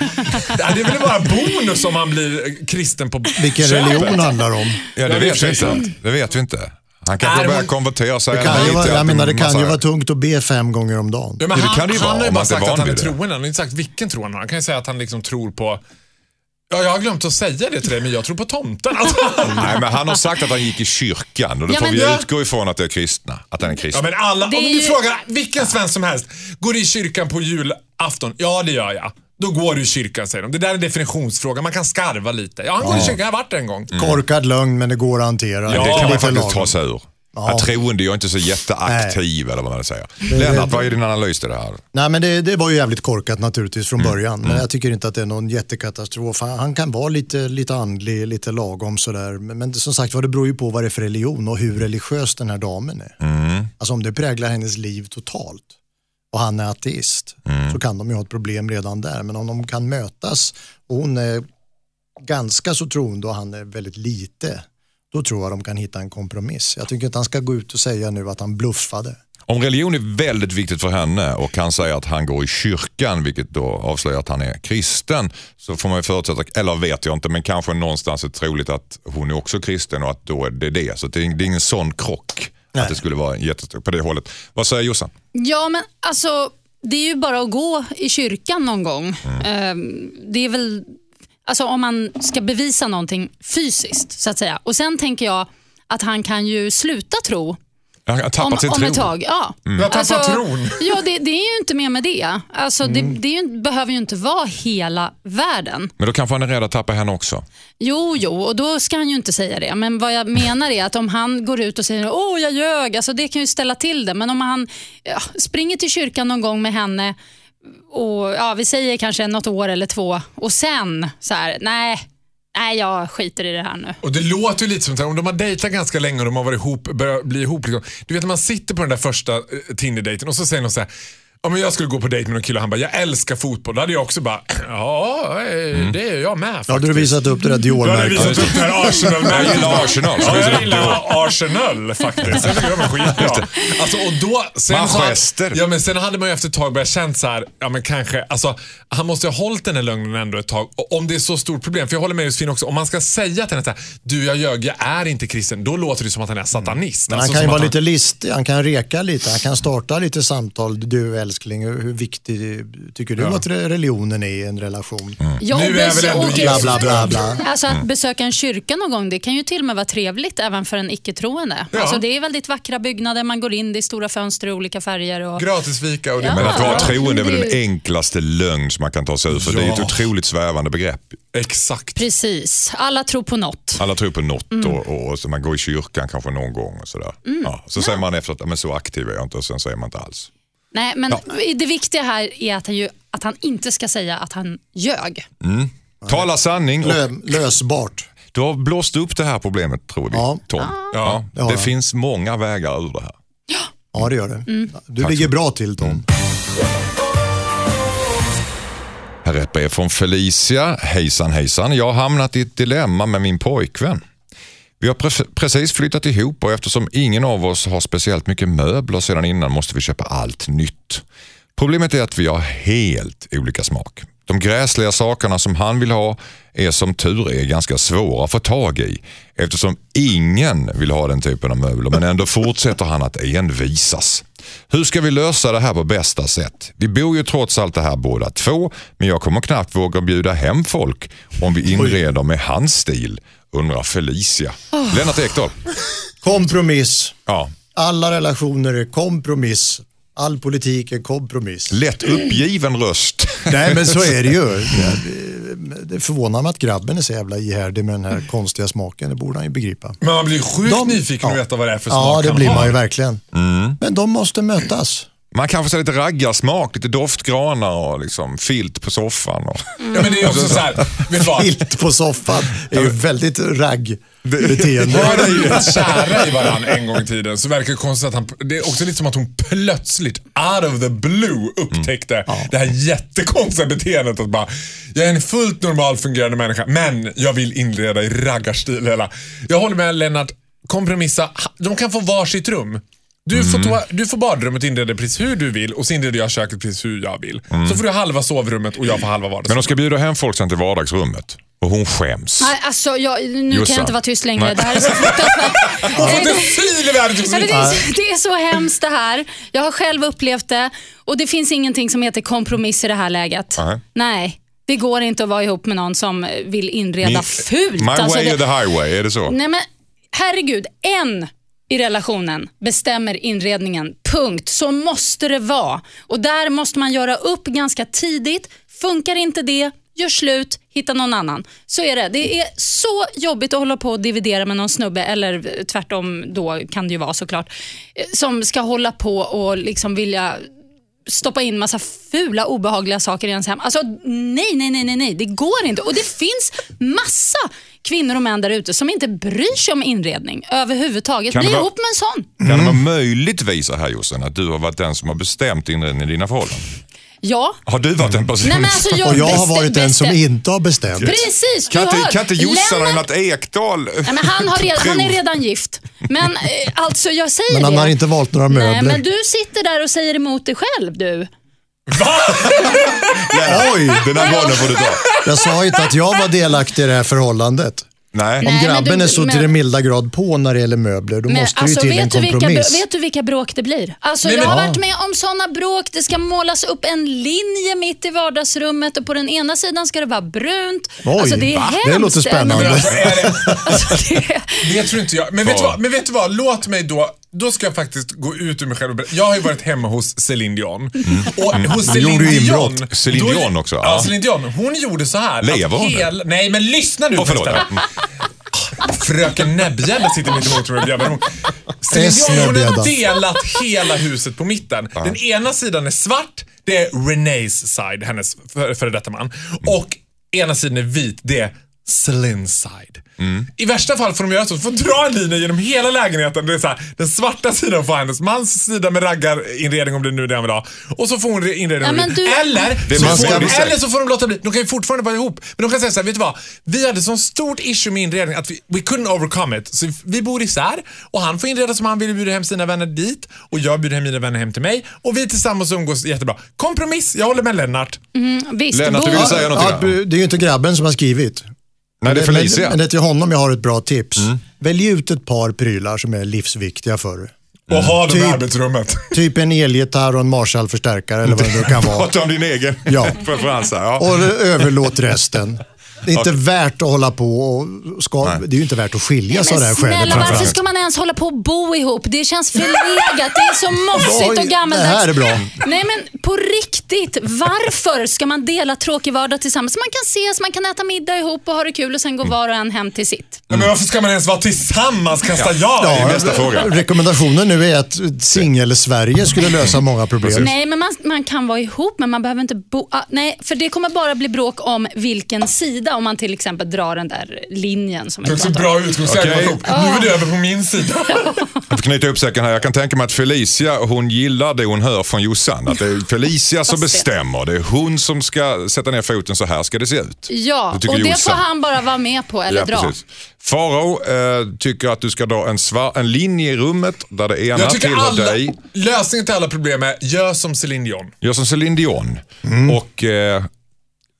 B: Ja, Det är väl bara bonus om han blir kristen på
C: Vilken
B: köpet.
C: religion handlar det om?
D: Ja, det
B: Jag vet
D: vet vi
B: inte.
D: inte. Det vet vi inte. Han kanske
B: Nej,
D: börjar
B: men-
D: konvertera sig.
C: Det kan, ju
D: lite,
C: vara,
D: att
C: jag menar, det kan ju
D: massa-
C: vara tungt att be fem gånger om dagen.
B: Ja, men
D: Ja, det
B: han,
D: kan det ju
B: han
D: vara,
B: har ju
D: om
B: bara
D: man inte är
B: sagt att
D: van
B: han är
D: vid det.
B: troende. Han har inte sagt vilken tro han har. Han kan ju säga att han liksom tror på... Ja, jag har glömt att säga det till dig, men jag tror på tomten. Alltså.
D: Nej, men han har sagt att han gick i kyrkan och då
A: Ja,
D: får
A: men
D: vi
B: jag-
D: utgå ifrån att det är kristna. Att han är kristen.
B: Ja, men alla, om
A: Det är
B: du
A: ju-
B: frågar vilken svensk som helst, går du i kyrkan på julafton? Ja, det gör jag. Då går du i kyrkan, säger de. Det där är en definitionsfråga. Man kan skarva lite. Ja, han går i kyrkan. Jag har varit där en
D: Mm.
B: gång.
C: Korkad lögn, men det går att hantera.
D: det kan man
C: Lite
D: faktiskt
C: lagom.
D: ta sig ur. Jag troende, jag är inte så jätteaktiv eller vad man säger. Lennart, vad är din analys till det här?
C: Nej, men det, det var ju jävligt korkat naturligtvis
B: Mm.
C: från början. Men jag tycker inte att det är någon jättekatastrof. Han, han kan vara lite, lite andlig, lite lagom sådär. Men, men det- som sagt var, det beror ju på vad det är för religion och hur religiös den här damen är.
B: Mm.
C: Alltså om det präglar hennes liv totalt och han är ateist
B: Mm.
C: så kan de ju ha ett problem redan där. Men om de kan mötas och hon är ganska så troende och han är väldigt lite, då tror jag de kan hitta en kompromiss. Jag tycker inte han ska gå ut och säga nu att han bluffade.
D: Om religion är väldigt viktigt för henne och han säger att han går i kyrkan, vilket då avslöjar att han är kristen, så får man ju förutsätta, eller vet jag inte, men kanske någonstans är troligt att hon är också kristen och att då är det det. Så det är det är ingen sån krock att det skulle vara en jättestor på det hållet. Vad säger Jossan?
A: Ja, men alltså, det är ju bara att gå i kyrkan någon gång.
B: Mm.
A: Ehm, Det är väl, alltså om man ska bevisa någonting fysiskt så att säga. Och sen tänker jag att han kan ju sluta tro
D: Han har tappat
A: om,
D: sin
A: om
D: tro.
A: ett tag. Ja.
B: Jag tappar
A: Alltså-
B: tron.
A: Ja, det, det är ju inte mer med det. Alltså, det, det är ju, behöver ju inte vara hela världen.
D: Men då kanske han är rädd att tappa henne också.
A: Jo, jo, och då ska han ju inte säga det. Men vad jag menar är att om han går ut och säger åh jag ljög, alltså, det kan ju ställa till det. Men om han ja, springer till kyrkan någon gång med henne och ja, vi säger kanske något år eller två och sen så här, nej, nej jag skiter i det här nu.
B: Och det låter ju lite som att om de har dejtat ganska länge och de har varit ihop, börjat bli ihop. Liksom. Du vet när man sitter på den där första eh, Tinder-dejten och så säger någon så här Ja, men jag skulle gå på dejt med någon kille och han bara, jag älskar fotboll. Då hade jag också bara, ja, eh,
D: Mm.
B: det är jag med faktiskt.
C: Då hade du visat upp det där
B: Då hade jag
C: Dior-märket.
B: visat upp det här Arsenal-märket.
D: Jag gillar Arsenal, så
B: Ja,
D: visar
B: jag
D: du
B: gillar Arsenal faktiskt. Jag tycker de är skitbra. Alltså, och då, sen
D: Manchester.
B: Hade, ja, men sen hade man ju efter ett tag börjat känna så här, ja men kanske, alltså, han måste ju ha hållit den här lögnen ändå ett tag. Och Om det är så stort problem, för jag håller med Josefin också, om man ska säga till henne så här, du jag ljög, jag är inte kristen, då låter det som att han är satanist.
C: Men han
B: Alltså,
C: kan ju
B: som
C: vara
B: att
C: lite listig, han kan reka lite, han kan starta lite samtal. Du älskling, hur hur viktig tycker du att re- religionen är i en relation?
A: Jag
B: Nu är väl ändå Mm.
A: besöker-
C: Bla, bla, bla, bla.
A: Alltså att besöka en kyrka någon gång, det kan ju till och med vara trevligt även för en icke-troende.
B: Ja.
A: Alltså, det är väldigt vackra byggnader, man går in, det är stora fönster i olika färger. Och...
B: Gratisfika och det.
D: Men att vara
A: Ja.
D: troende är väl den
A: Det-
D: enklaste lögn som man kan ta sig ur, för det är ett
B: Ja.
D: otroligt svävande begrepp.
B: Exakt.
A: Precis, alla tror på något.
D: Alla tror på något och, och, och så man går i kyrkan kanske någon gång. Och sådär. Ja, så säger man efter att men så aktiv är jag inte och sen säger man inte alls.
A: Nej, men det viktiga här är att han, ju, att han inte ska säga att han ljög.
D: Tala sanning. Och
C: Lö, lösbart.
D: du har blåst upp det här problemet tror vi,
C: Ja.
D: Tom. Ja,
C: det har
D: det
C: jag.
D: finns många vägar ur det här.
C: Ja, det gör det. Du ligger bra till
B: Mm.
C: Tom.
D: Här är ett brev från Felicia. Hejsan hejsan. Jag har hamnat i ett dilemma med min pojkvän. Vi har pre- precis flyttat ihop och eftersom ingen av oss har speciellt mycket möbler sedan innan måste vi köpa allt nytt. Problemet är att vi har helt olika smak. De gräsliga sakerna som han vill ha är som tur är ganska svåra att få tag i eftersom ingen vill ha den typen av möbler men ändå fortsätter han att envisas. Hur ska vi lösa det här på bästa sätt? Vi bor ju trots allt det här båda två men jag kommer knappt våga bjuda hem folk om vi inreder med hans stil undrar Felicia.
A: Ah.
D: Lennart Ekdahl.
C: Kompromiss.
D: Ja.
C: Alla relationer är kompromiss. All politik är kompromiss.
D: Lätt uppgiven röst.
C: Nej, men så är det ju. Det förvånar mig att grabben är så jävla ihärdig med den här konstiga smaken. Det borde han ju begripa.
B: Men man blir sjukt
C: De-
B: nyfiken att
C: Ja.
B: veta vad det är för smak
C: Ja, det
B: han
C: blir
B: har. Mm.
C: man ju verkligen. Men de måste mötas.
D: Man kanske ser lite raggarsmak, lite doftgranar och liksom filt på soffan. Och...
A: Mm.
B: Ja, men det är också så här, vet du vad?
C: Filt på soffan är ju väldigt
B: Har
C: raggbeteende.
B: de blivit kära i varandra en gång i tiden så verkar det konstigt att han, det är också lite som att hon plötsligt out of the blue upptäckte det här jättekonstiga beteendet att bara, jag är en fullt normal fungerande människa men jag vill inreda i raggarstil hela. Jag håller med Lennart, kompromissa, de kan få varsitt rum. Du, får toa, du får badrummet inreda precis hur du vill och så inreder jag köket precis hur jag vill. Så får du halva sovrummet och jag får halva
D: Men de
B: vardagsrummet.
D: ska bjuda hem folk sen till vardagsrummet. Och hon skäms.
A: Nej, alltså, jag, nu kan
D: Jossan.
A: jag inte vara tyst längre.
D: Nej.
A: Det här är så fruktansvärt.
B: Och det är fil i världen typ,
A: Nej, men Alltså, det,
B: Josefin.
A: är, så- det är så hemskt det här. Jag har själv upplevt det och det finns ingenting som heter kompromiss i det här läget.
D: Nej.
A: Nej, det går inte att vara ihop med någon som vill inreda
D: Min-
A: fult.
D: My
A: Alltså,
D: way
A: det- Mm.
D: or the highway, är det så?
A: Nej men herregud, en i relationen bestämmer inredningen. Punkt. Så måste det vara. Och där måste man göra upp ganska tidigt. Funkar inte det, gör slut, hitta någon annan. Så är det. Det är så jobbigt att hålla på och dividera med någon snubbe, eller eh, tvärtom då kan det ju vara såklart, eh, som ska hålla på och liksom vilja stoppa in massa fula obehagliga saker i ens hem. Alltså nej, nej, nej, nej, nej, det går inte. Och det finns massa kvinnor och män där ute som inte bryr sig om inredning överhuvudtaget.
D: Kan det
A: Bli
D: vara-
A: ihop med en sån.
D: Kan det vara möjligtvis så här Jossan, att du har varit den som har bestämt inredningen i dina förhållanden?
A: Ja.
D: Har du varit den personen?
A: Nej, men alltså, jag
C: Och jag har
A: bestä-
C: varit den som
A: bestä-
C: inte har bestämt.
A: Precis, du
D: kan, inte,
A: hör.
D: kan inte Jossan och
A: Lennart-
D: Lennart Ekdal...
A: Nej, men han, har redan, han är redan gift. Men eh, alltså jag säger
C: Men han
A: det.
C: har inte valt några
A: Nej,
C: möbler.
A: men du sitter där och säger emot dig själv du.
C: Oj,
D: Den här bollen får du ta.
C: jag sa inte att jag var delaktig i det här förhållandet.
D: Nej.
C: Om
A: Nej, men
C: grabben
A: du-
C: är så
A: men-
C: till den milda grad på när det gäller möbler, då
A: Men
C: måste det ju
A: alltså,
C: till en
A: vet, du vilka,
C: kompromiss.
A: br- vet du vilka bråk det blir? Alltså,
B: Nej,
A: jag
B: men-
A: har
B: Ja.
A: varit med om sådana bråk. Det ska målas upp en linje mitt i vardagsrummet och på den ena sidan ska det vara brunt.
C: Oj,
A: alltså, det är
C: va?
A: hemskt.
C: Det låter spännande.
B: Men alltså, är det-
A: Alltså, det är...
B: Det tror inte jag. Men vet, du vad, men vet du vad, låt mig då, då ska jag faktiskt gå ut ur mig själv och berätta. Jag har ju varit hemma hos Céline Dion.
D: Mm.
B: Och hos Céline
C: gjorde ju
B: Dion.
C: inbrott.
D: Céline
B: då-
D: Dion också,
B: Ja,
D: ja.
B: Céline Dion. Hon gjorde så här. att
D: Lever hon nu?
B: hela- Nej, men lyssna nu.
D: Åh, förlåt. Mm.
B: förresten. Fröken Näbbgädda sitter mitt emot mig och bjäbbar emot. Céline
C: S.
B: Dion, hon har
C: Näbbgädda.
B: delat hela huset på mitten. Den ena sidan är svart, det är Renees side, hennes före före detta man. Och ena sidan är vit, det är Céline's side. I värsta fall får de göra så, de får dra en linje genom hela lägenheten. Det är så här, den svarta sidan får hennes mans sida med raggarinredning om det nu är det han vill ha. Och så får hon re- inredning
A: Ja,
B: hon
A: men
B: vill.
A: du-
B: Eller,
D: Det
B: så
D: man
B: får,
D: ska-
B: eller så får de låta bli. De kan ju fortfarande vara ihop. Men de kan säga så här, vet du vad? Vi hade sån stort issue med inredning att vi we couldn't overcome it. Så vi bor isär och han får inreda som han vill och bjuda hem sina vänner dit och jag bjuder hem mina vänner hem till mig och vi tillsammans umgås jättebra. Kompromiss, jag håller med Lennart.
A: Visst,
D: Lennart, du
A: bo-
D: vill säga någonting?
C: Ja, det är ju inte grabben som har skrivit.
D: Nej, det är Felicia. Mm.
C: Men, men det är till honom jag har ett bra tips. Välj ut ett par prylar som är livsviktiga för dig.
B: Och ha det i
C: Typ.
B: arbetsrummet.
C: Typ en elgitarr och en Marshall-förstärkare eller vad det nu kan vara.
D: Prata om din egen
C: Ja.
D: preferens här. Ja.
C: Och överlåt resten. Det är inte värt att hålla på och ska, det är ju inte värt att skiljas av det här
A: Men
C: skälet
A: snälla, varför
C: framförallt.
A: ska man ens hålla på och bo ihop? Det känns förlegat. Det är så mossigt
C: Oj,
A: och gammaldags.
C: det här är bra.
A: Nej, men på riktigt. Varför ska man dela tråkig vardag tillsammans? Man kan ses, man kan äta middag ihop och ha det kul och sen går var och en hem till sitt.
B: Men varför ska man ens vara tillsammans? Kasta ja.
C: Ja,
B: ja.
D: nästa fråga.
C: Rekommendationen nu är att singel-Sverige skulle lösa många problem.
A: Nej, men man, man kan vara ihop, men man behöver inte bo... Ah, nej, för det kommer bara bli bråk om vilken sida, om man till exempel drar den där linjen som
B: Det är
A: jag
B: så
A: pratade om.
B: bra utgångsläge.
D: Okej.
B: ihop. Nu är det över på min sida.
D: Jag får knyta upp säcken här. Jag kan tänka mig att Felicia, hon gillar det hon hör från Jossan. Att det är Felicia som bestämmer. Det är hon som ska sätta ner foten. Så här ska det se ut.
A: Ja,
D: Det tycker
A: och det får
D: Jossan.
A: han bara vara med på eller dra.
D: precis. Farao eh, tycker att du ska dra en, svar, en linje i rummet där det ena
B: Jag tycker
D: tillhör
B: alla,
D: dig.
B: lösningen till alla problem är gör som Céline Dion.
D: Gör som Céline Dion.
C: Mm.
D: Och eh,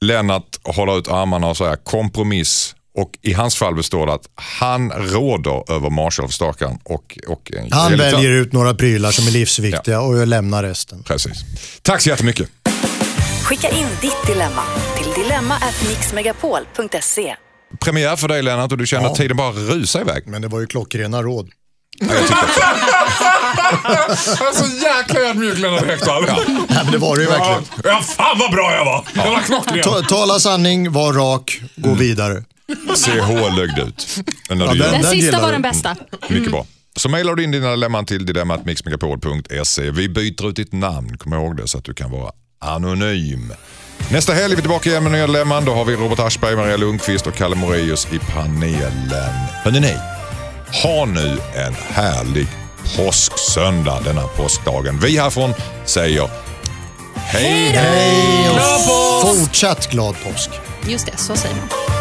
D: Lennart håller ut armarna och säger kompromiss. Och i hans fall består det att han råder över Marshall-stakaren och, och en
C: Han
D: elgitarr.
C: väljer ut några prylar som är livsviktiga och jag lämnar resten.
D: Precis. Tack så jättemycket.
F: Skicka in ditt dilemma till dilemma@mixmegapol.se.
D: Premiär för dig Lennart och du känner att tiden bara rusar iväg.
C: Men det var ju klockrena råd.
B: Jag är så jäkla ödmjuk Lennart Hökdahl.
C: Nej, men det var det ju verkligen.
B: Ja, fan vad bra jag var! Jag var knockren.
C: Ta, tala sanning, var rak, gå vidare.
D: CH lögde ut. Men när
C: Ja,
D: du gör
C: den-
A: Den,
D: det.
A: sista
C: gillar
A: var
C: vi.
A: den bästa.
D: Mycket bra. Så mejlar du in dina dilemman till dilemmatmixmegapol.se. Vi byter ut ditt namn, kom ihåg det, så att du kan vara anonym. Nästa helg är vi tillbaka igen med nya dilemman. Då har vi Robert Aschberg, Maria Lundqvist och Kalle Moraeus i panelen. Hörrni, ha nu en härlig påsksöndag denna påskdagen. Vi härifrån säger hej, hej!
C: Fortsatt glad påsk.
A: Just det, så säger man.